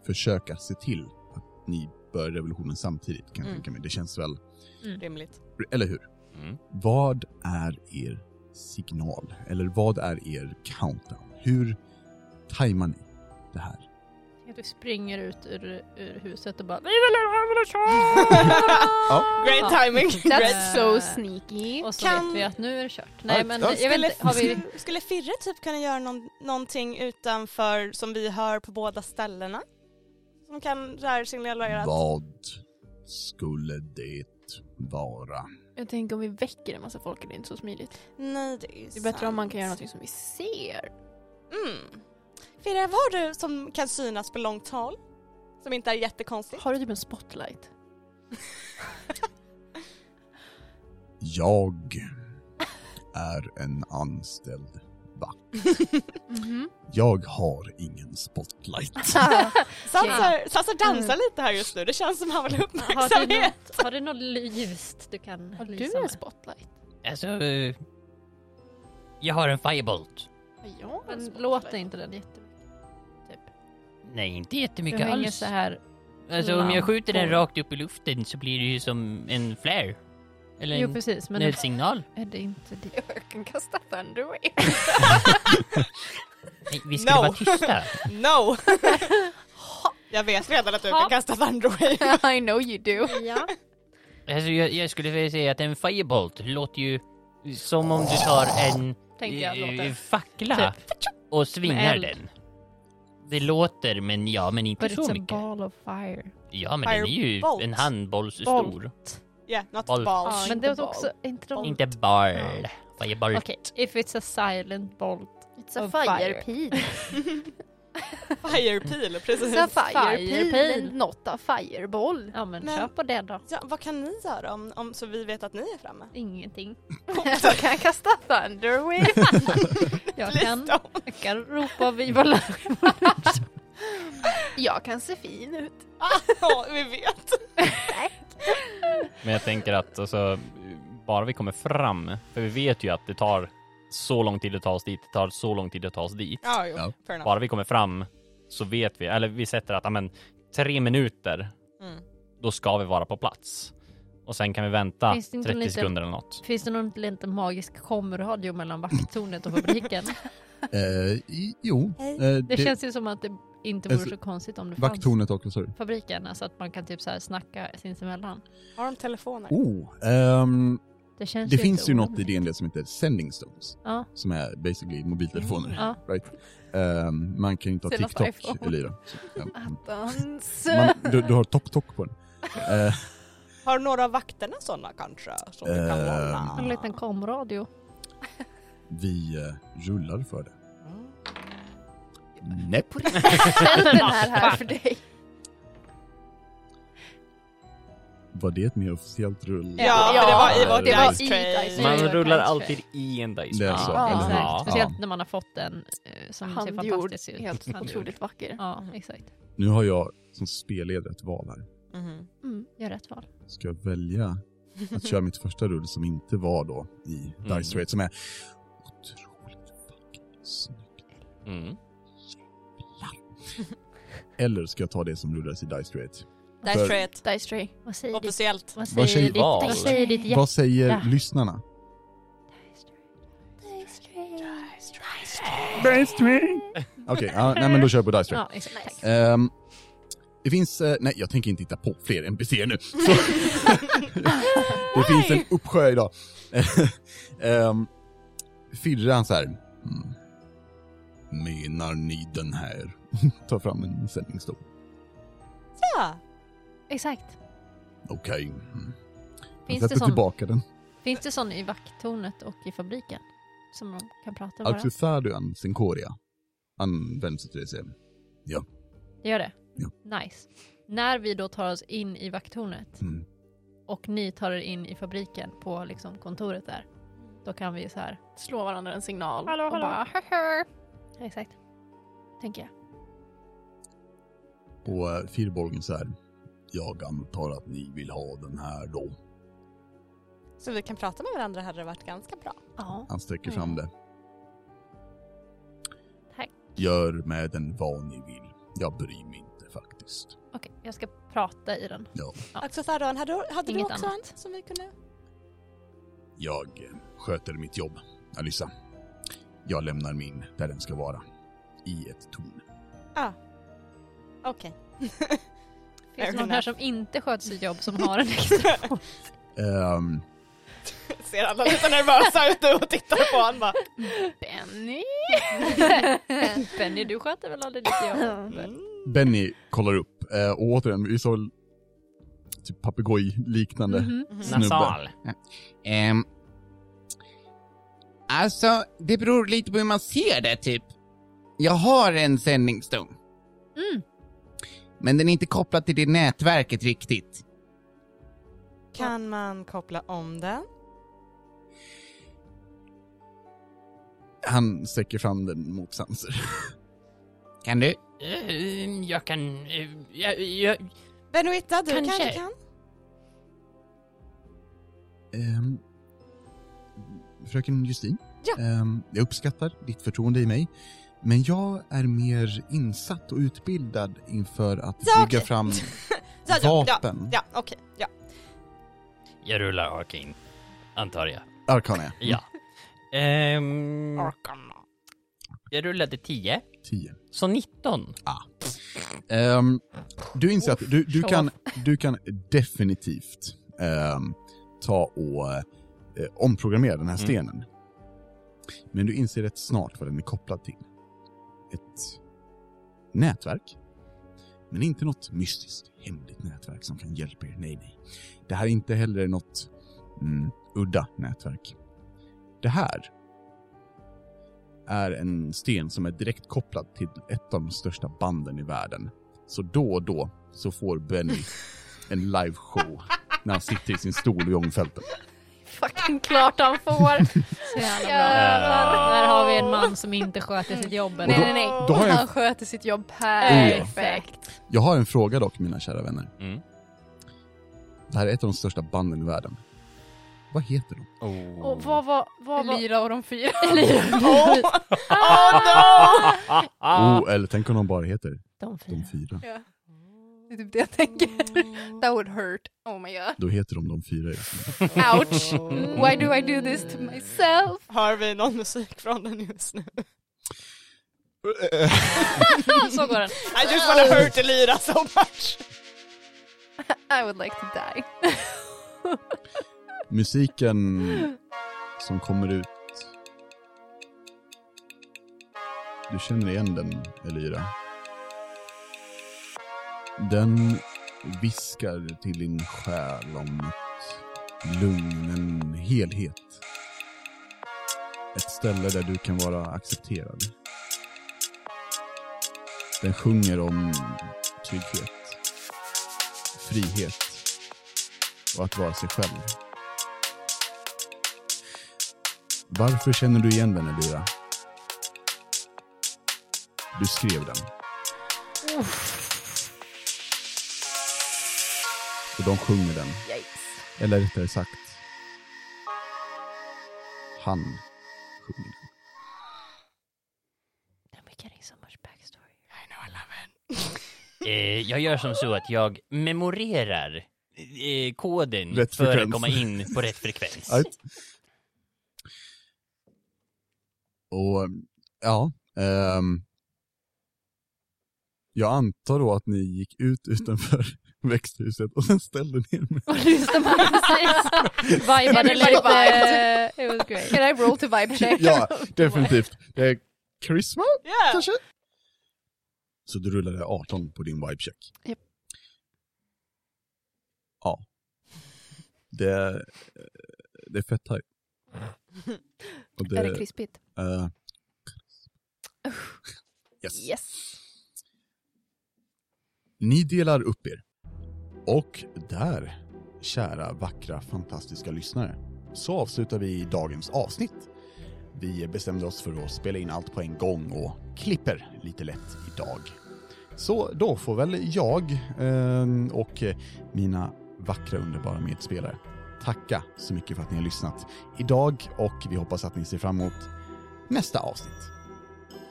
[SPEAKER 1] försöka se till att ni börjar revolutionen samtidigt, kan jag
[SPEAKER 4] Mm.
[SPEAKER 1] tänka mig. Det känns väl...
[SPEAKER 4] Rimligt.
[SPEAKER 1] Eller hur?
[SPEAKER 3] Mm.
[SPEAKER 1] Vad är er signal? Eller vad är er countdown? Hur tajmar ni det här?
[SPEAKER 5] Du springer ut ur, ur huset och bara
[SPEAKER 4] Great timing.
[SPEAKER 5] That's
[SPEAKER 7] That's
[SPEAKER 5] so
[SPEAKER 7] so sneaky.
[SPEAKER 5] Och så
[SPEAKER 4] Kan-
[SPEAKER 5] vet vi att nu är det kört. Nej men
[SPEAKER 1] ja.
[SPEAKER 5] jag vet inte, har vi...
[SPEAKER 4] skulle, skulle Firre typ kunna göra någon, någonting utanför som vi hör på båda ställena? Som kan så här signalera att...
[SPEAKER 1] Vad skulle det vara?
[SPEAKER 9] Jag tänker om vi väcker en massa folk är det inte så smidigt.
[SPEAKER 4] Nej, det är
[SPEAKER 9] Det är bättre om man kan göra
[SPEAKER 4] sant.
[SPEAKER 9] någonting som vi ser.
[SPEAKER 4] Mm. Firre, vad har du som kan synas på långt håll? Som inte är jättekonstigt?
[SPEAKER 9] Har du typ en spotlight?
[SPEAKER 1] Jag är en anställd vakt.
[SPEAKER 9] Mm-hmm.
[SPEAKER 1] Jag har ingen spotlight.
[SPEAKER 4] Sanser, Sanser dansar
[SPEAKER 9] Mm.
[SPEAKER 4] lite här just nu, det känns som han vill ha
[SPEAKER 5] Har du,
[SPEAKER 4] uppmärksamhet.
[SPEAKER 5] något, har du något ljust du kan
[SPEAKER 9] Har du
[SPEAKER 5] lysa
[SPEAKER 9] en
[SPEAKER 5] med?
[SPEAKER 9] spotlight?
[SPEAKER 6] Alltså, eh, jag har en firebolt.
[SPEAKER 9] Har jag en
[SPEAKER 5] Men
[SPEAKER 9] spotlight?
[SPEAKER 5] låter inte den jättemycket?
[SPEAKER 6] Nej, inte
[SPEAKER 5] Du
[SPEAKER 6] jättemycket
[SPEAKER 5] hänger
[SPEAKER 6] alls.
[SPEAKER 5] så här.
[SPEAKER 6] Alltså om jag skjuter den
[SPEAKER 5] lampor.
[SPEAKER 6] rakt upp i luften så blir det ju som en flare. Eller
[SPEAKER 5] Jo
[SPEAKER 6] en
[SPEAKER 5] precis men
[SPEAKER 6] nödsignal.
[SPEAKER 5] är det inte det?
[SPEAKER 9] Jag kan kasta thunderwave.
[SPEAKER 6] Nej, vi skulle
[SPEAKER 4] No.
[SPEAKER 6] vara tysta.
[SPEAKER 4] No! Jag vet redan att du kan kasta Thunderwave.
[SPEAKER 9] I know you do.
[SPEAKER 5] Ja.
[SPEAKER 6] Alltså, jag, jag skulle vilja säga att en firebolt låter ju som om du tar en
[SPEAKER 5] Tänkte jag
[SPEAKER 6] eh,
[SPEAKER 5] låter.
[SPEAKER 6] fackla och svingar
[SPEAKER 5] eld.
[SPEAKER 6] den. Det låter, men ja, men inte
[SPEAKER 5] But
[SPEAKER 6] så
[SPEAKER 5] it's a
[SPEAKER 6] mycket.
[SPEAKER 5] ball of fire.
[SPEAKER 6] Ja, men den är ju
[SPEAKER 4] Firebolt.
[SPEAKER 6] en handbollsstor.
[SPEAKER 5] Bolt.
[SPEAKER 4] Yeah, not
[SPEAKER 6] Bolt.
[SPEAKER 4] balls.
[SPEAKER 5] Men
[SPEAKER 9] inte
[SPEAKER 5] det var
[SPEAKER 9] ball.
[SPEAKER 5] också, är inte de...
[SPEAKER 6] Inte ball. Firebolt.
[SPEAKER 5] Okej, if it's a silent bolt.
[SPEAKER 7] It's a
[SPEAKER 5] Och
[SPEAKER 7] fire
[SPEAKER 5] fire.
[SPEAKER 7] peel.
[SPEAKER 4] Fire peel, precis.
[SPEAKER 9] It's a fire
[SPEAKER 5] Fire
[SPEAKER 9] peel,
[SPEAKER 5] peel.
[SPEAKER 9] not a fireball.
[SPEAKER 5] Ja men,
[SPEAKER 4] Men-
[SPEAKER 5] kör på det då.
[SPEAKER 4] Ja, vad kan ni göra om, om, så vi vet att ni är framme?
[SPEAKER 5] Ingenting.
[SPEAKER 9] Jag kan kasta thunderwave.
[SPEAKER 5] Jag
[SPEAKER 4] Please
[SPEAKER 5] kan,
[SPEAKER 4] don't.
[SPEAKER 5] jag kan ropa Viva la-
[SPEAKER 9] Jag kan se fin ut.
[SPEAKER 4] Ja, vi vet.
[SPEAKER 3] Men jag tänker att alltså, bara vi kommer fram, för vi vet ju att det tar så lång tid att ta oss dit, det tar så lång tid att ta oss dit.
[SPEAKER 4] Ja, jo.
[SPEAKER 1] Ja.
[SPEAKER 4] Fair enough.
[SPEAKER 3] Bara vi kommer fram så vet vi, eller vi sätter att amen, tre minuter,
[SPEAKER 4] Mm.
[SPEAKER 3] då ska vi vara på plats. Och sen kan vi vänta
[SPEAKER 5] Finns det inte
[SPEAKER 3] 30
[SPEAKER 5] en liten-
[SPEAKER 3] sekunder eller något.
[SPEAKER 5] Finns det någon liten magisk komradio mellan vakttornet och fabriken?
[SPEAKER 1] Eh, i- jo, eh,
[SPEAKER 5] Det känns ju som att det inte vore
[SPEAKER 1] Alltså,
[SPEAKER 5] så konstigt om det fanns
[SPEAKER 1] vakttornet också, sorry.
[SPEAKER 5] fabriken, alltså att man kan typ så här snacka sinsemellan.
[SPEAKER 4] Har de telefoner?
[SPEAKER 1] Oh, ehm,
[SPEAKER 5] Det, känns
[SPEAKER 1] det
[SPEAKER 5] ju
[SPEAKER 1] finns
[SPEAKER 5] inte
[SPEAKER 1] ju något i
[SPEAKER 5] orimligt.
[SPEAKER 1] D&D som heter sending stones,
[SPEAKER 5] Ja.
[SPEAKER 1] som är basically mobiltelefoner.
[SPEAKER 5] Ja.
[SPEAKER 1] Right? Ehm, man kan ju inte ha
[SPEAKER 9] Senast
[SPEAKER 1] TikTok,
[SPEAKER 9] iPhone.
[SPEAKER 1] Elira. Så, ja.
[SPEAKER 9] Dans.
[SPEAKER 1] Man, du, du har TokTok på den. Eh,
[SPEAKER 4] Har några av vakterna sådana kanske? Som du kan
[SPEAKER 1] Ehm.
[SPEAKER 4] låna?
[SPEAKER 5] En liten komradio.
[SPEAKER 1] vi eh, rullar för det. Nej.
[SPEAKER 9] Ställ den här här för dig.
[SPEAKER 1] Var det ett mer officiellt rull?
[SPEAKER 4] Ja,
[SPEAKER 9] Ja,
[SPEAKER 4] för det var i vårt
[SPEAKER 9] det var
[SPEAKER 4] dice
[SPEAKER 9] i
[SPEAKER 4] tray.
[SPEAKER 9] dice
[SPEAKER 3] Man
[SPEAKER 9] Jag
[SPEAKER 3] rullar
[SPEAKER 9] kanske.
[SPEAKER 3] alltid i en dice.
[SPEAKER 1] Det är
[SPEAKER 3] roll.
[SPEAKER 1] så,
[SPEAKER 5] Ja,
[SPEAKER 1] Alltså, eller hur?
[SPEAKER 5] exakt.
[SPEAKER 1] Ja.
[SPEAKER 5] Speciellt när man har fått en eh, som ser
[SPEAKER 9] Handgjord,
[SPEAKER 5] fantastisk ut.
[SPEAKER 9] helt
[SPEAKER 5] Handgjord.
[SPEAKER 9] otroligt vacker.
[SPEAKER 5] Ja, exakt.
[SPEAKER 1] Nu har jag som spelledare ett val här.
[SPEAKER 4] Mhm.
[SPEAKER 5] Mm, Gör rätt val.
[SPEAKER 1] Ska jag välja att köra mitt första rull som inte var då i
[SPEAKER 3] Mm.
[SPEAKER 1] Dice Rate som är otroligt fucking snyggt.
[SPEAKER 3] Mm.
[SPEAKER 1] Eller ska jag ta det som rullades i Dice Rate?
[SPEAKER 4] Dice tray.
[SPEAKER 9] Dice tray.
[SPEAKER 5] Vad säger, ditt,
[SPEAKER 4] Officiellt.
[SPEAKER 5] vad
[SPEAKER 1] Vad
[SPEAKER 5] säger,
[SPEAKER 1] säger
[SPEAKER 5] ditt,
[SPEAKER 3] val?
[SPEAKER 5] vad säger ditt hjärta?
[SPEAKER 1] Vad säger
[SPEAKER 5] Ja.
[SPEAKER 1] lyssnarna? Okej, ja, nej men då kör jag på Dice Rate.
[SPEAKER 5] Ja, exakt. Tack.
[SPEAKER 1] Ehm, det finns, eh, nej jag tänker inte hitta på fler NPCer nu. Så. det finns en uppsjö idag. um, Firran så här. Mm. Menar ni den här? Ta fram en sändningsstol.
[SPEAKER 4] Ja.
[SPEAKER 5] exakt.
[SPEAKER 1] Okej. Mm. Jag
[SPEAKER 5] Finns det
[SPEAKER 1] Sätter
[SPEAKER 5] sån-
[SPEAKER 1] tillbaka den.
[SPEAKER 5] Finns det sån i vakttornet och i fabriken? Som de kan prata med varandra?
[SPEAKER 1] Alcuthaduan Sincoria används till det sen.
[SPEAKER 5] Det gör det?
[SPEAKER 1] Ja.
[SPEAKER 5] Nice. När vi då tar oss in i vakttornet
[SPEAKER 1] Mm.
[SPEAKER 5] och ni tar er in i fabriken på liksom kontoret där, då kan vi så här.
[SPEAKER 9] Slå varandra en signal
[SPEAKER 5] Hallå,
[SPEAKER 9] och
[SPEAKER 5] hallå.
[SPEAKER 9] bara "Haha."
[SPEAKER 5] Exakt. Tänker jag.
[SPEAKER 1] Och eh, Firbolgen så här. Jag antar att ni vill ha den här då.
[SPEAKER 4] Så vi kan prata med varandra hade det varit ganska bra.
[SPEAKER 5] Ja.
[SPEAKER 1] Han sträcker fram det.
[SPEAKER 5] Tack.
[SPEAKER 1] Gör med den vad ni vill. Jag bryr mig inte faktiskt.
[SPEAKER 5] Okej, jag ska prata i den. Ja.
[SPEAKER 4] Accessoaron, hade, du- hade du
[SPEAKER 5] Inget
[SPEAKER 4] också
[SPEAKER 5] annat.
[SPEAKER 4] en som vi kunde...
[SPEAKER 1] Jag eh, sköter mitt jobb, Alyssa. Jag lämnar min där den ska vara. I ett torn.
[SPEAKER 4] Okej.
[SPEAKER 5] Finns det någon
[SPEAKER 4] enough.
[SPEAKER 5] här som inte sköter sitt jobb som har en extra fot?
[SPEAKER 1] Ehm,
[SPEAKER 4] Ser alla lite nervösa ut nu och tittar på honom bara.
[SPEAKER 9] Benny?
[SPEAKER 5] Benny, du sköter väl aldrig ditt jobb?
[SPEAKER 1] Benny kollar upp. Eh, och återigen, vi såg väl typ papegojliknande.
[SPEAKER 5] Mhm.
[SPEAKER 1] Snubbe.
[SPEAKER 6] Nasal.
[SPEAKER 10] Ehm. Alltså, det beror lite på hur man ser det, typ. Jag har en sändningsdom.
[SPEAKER 5] Mm.
[SPEAKER 10] Men den är inte kopplad till det nätverket riktigt.
[SPEAKER 4] Kan man koppla om den?
[SPEAKER 1] Han sträcker fram den mot Sanser.
[SPEAKER 10] Kan du?
[SPEAKER 6] Eh, Jag kan... eh, Jag, jag,
[SPEAKER 4] Benoitta, du
[SPEAKER 5] Kanske.
[SPEAKER 4] kanske, kan?
[SPEAKER 1] Ehm, fröken Justin,
[SPEAKER 4] Ja.
[SPEAKER 1] ehm, jag uppskattar ditt förtroende i mig. Men jag är mer insatt och utbildad inför att
[SPEAKER 4] Ja,
[SPEAKER 1] bygga
[SPEAKER 4] okej.
[SPEAKER 1] fram
[SPEAKER 4] Ja, ja, ja,
[SPEAKER 1] vapen.
[SPEAKER 4] ja okej. Ja.
[SPEAKER 6] jag rullar Arcane, antar jag.
[SPEAKER 1] Arkana, ja.
[SPEAKER 6] Ja. Ehm,
[SPEAKER 4] Arkan.
[SPEAKER 1] Mm.
[SPEAKER 6] jag rullade 10,
[SPEAKER 1] Tio.
[SPEAKER 6] så 19.
[SPEAKER 1] Ehm, du inser att du, du,
[SPEAKER 5] show
[SPEAKER 1] kan, du kan definitivt ehm, ta och eh, omprogrammera den här
[SPEAKER 6] Mm.
[SPEAKER 1] stenen. Men du inser rätt snart vad den är kopplad till. Ett nätverk. Men inte något mystiskt, hemligt nätverk som kan hjälpa er. Nej, nej. Det här är inte heller något mm, udda nätverk. Det här är en sten som är direkt kopplad till ett av de största banden i världen. Så då och då så får Benny en liveshow när han sitter i sin stol i ångfälten.
[SPEAKER 9] Fucking klart han får.
[SPEAKER 5] Så jävla bra.
[SPEAKER 9] Jävlar.
[SPEAKER 5] Där har vi en man som inte sköter sitt jobb. Mm.
[SPEAKER 1] Och då-
[SPEAKER 5] eller?
[SPEAKER 1] Då har jag,
[SPEAKER 9] Han sköter sitt jobb
[SPEAKER 1] ja.
[SPEAKER 9] perfekt.
[SPEAKER 1] jag har en fråga dock, mina kära vänner.
[SPEAKER 3] Mm.
[SPEAKER 1] Det här är ett av de största banden i världen. Vad heter de?
[SPEAKER 3] Oh.
[SPEAKER 5] Och vad var... Vad var...
[SPEAKER 9] Lyra och de fyra.
[SPEAKER 1] Oh, eller tänk om de bara heter
[SPEAKER 5] De
[SPEAKER 1] De
[SPEAKER 5] fyra.
[SPEAKER 1] Fyra.
[SPEAKER 9] Det är typ det jag
[SPEAKER 1] Mm.
[SPEAKER 9] tänker. That would hurt. Oh my god.
[SPEAKER 1] Då heter de De Fyra just nu.
[SPEAKER 9] Ouch. Why do I do this to myself?
[SPEAKER 4] Har vi någon musik från den just nu?
[SPEAKER 5] Så går den.
[SPEAKER 4] I just wanna hurt Elira so much.
[SPEAKER 9] I would like to die.
[SPEAKER 1] Musiken som kommer ut. Du känner igen den, Elira. Den viskar till din själ om ett lugn, en helhet. Ett ställe där du kan vara accepterad. Den sjunger om trygghet, frihet och att vara sig själv. Varför känner du igen den, Elira? Du skrev den. Och de sjunger den. Eller rättare sagt, han sjunger den.
[SPEAKER 5] I'm getting so much backstory.
[SPEAKER 6] Eh, jag gör som så att jag memorerar eh, koden
[SPEAKER 1] Rätt
[SPEAKER 6] för
[SPEAKER 1] frekvens.
[SPEAKER 6] att komma in på rätt frekvens.
[SPEAKER 1] Right. Och ja, ehm, jag antar då att ni gick ut utanför växthuset och sen ställde ner mig.
[SPEAKER 5] Och lyssna på vad precis. Vibade
[SPEAKER 9] Everybody
[SPEAKER 5] lite. It was great.
[SPEAKER 9] Can I roll to vibe check?
[SPEAKER 1] Ja, definitivt. Det är charisma
[SPEAKER 4] Yeah.
[SPEAKER 1] kanske? Så du rullade 18 på din vibecheck?
[SPEAKER 9] Japp.
[SPEAKER 1] Ja. Det, det är fett tajt. Och
[SPEAKER 9] Är det krispigt?
[SPEAKER 1] eh, Yes.
[SPEAKER 7] Yes.
[SPEAKER 1] Ni delar upp er. Och där, kära, vackra, fantastiska lyssnare, så avslutar vi dagens avsnitt. Vi bestämde oss för att spela in allt på en gång och klipper lite lätt idag. Så då får väl jag eh, och mina vackra, underbara medspelare tacka så mycket för att ni har lyssnat idag och vi hoppas att ni ser fram emot nästa avsnitt.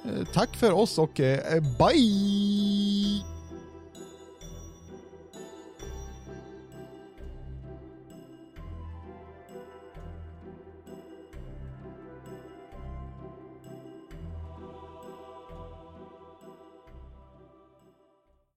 [SPEAKER 1] Eh, Tack för oss och eh, bye!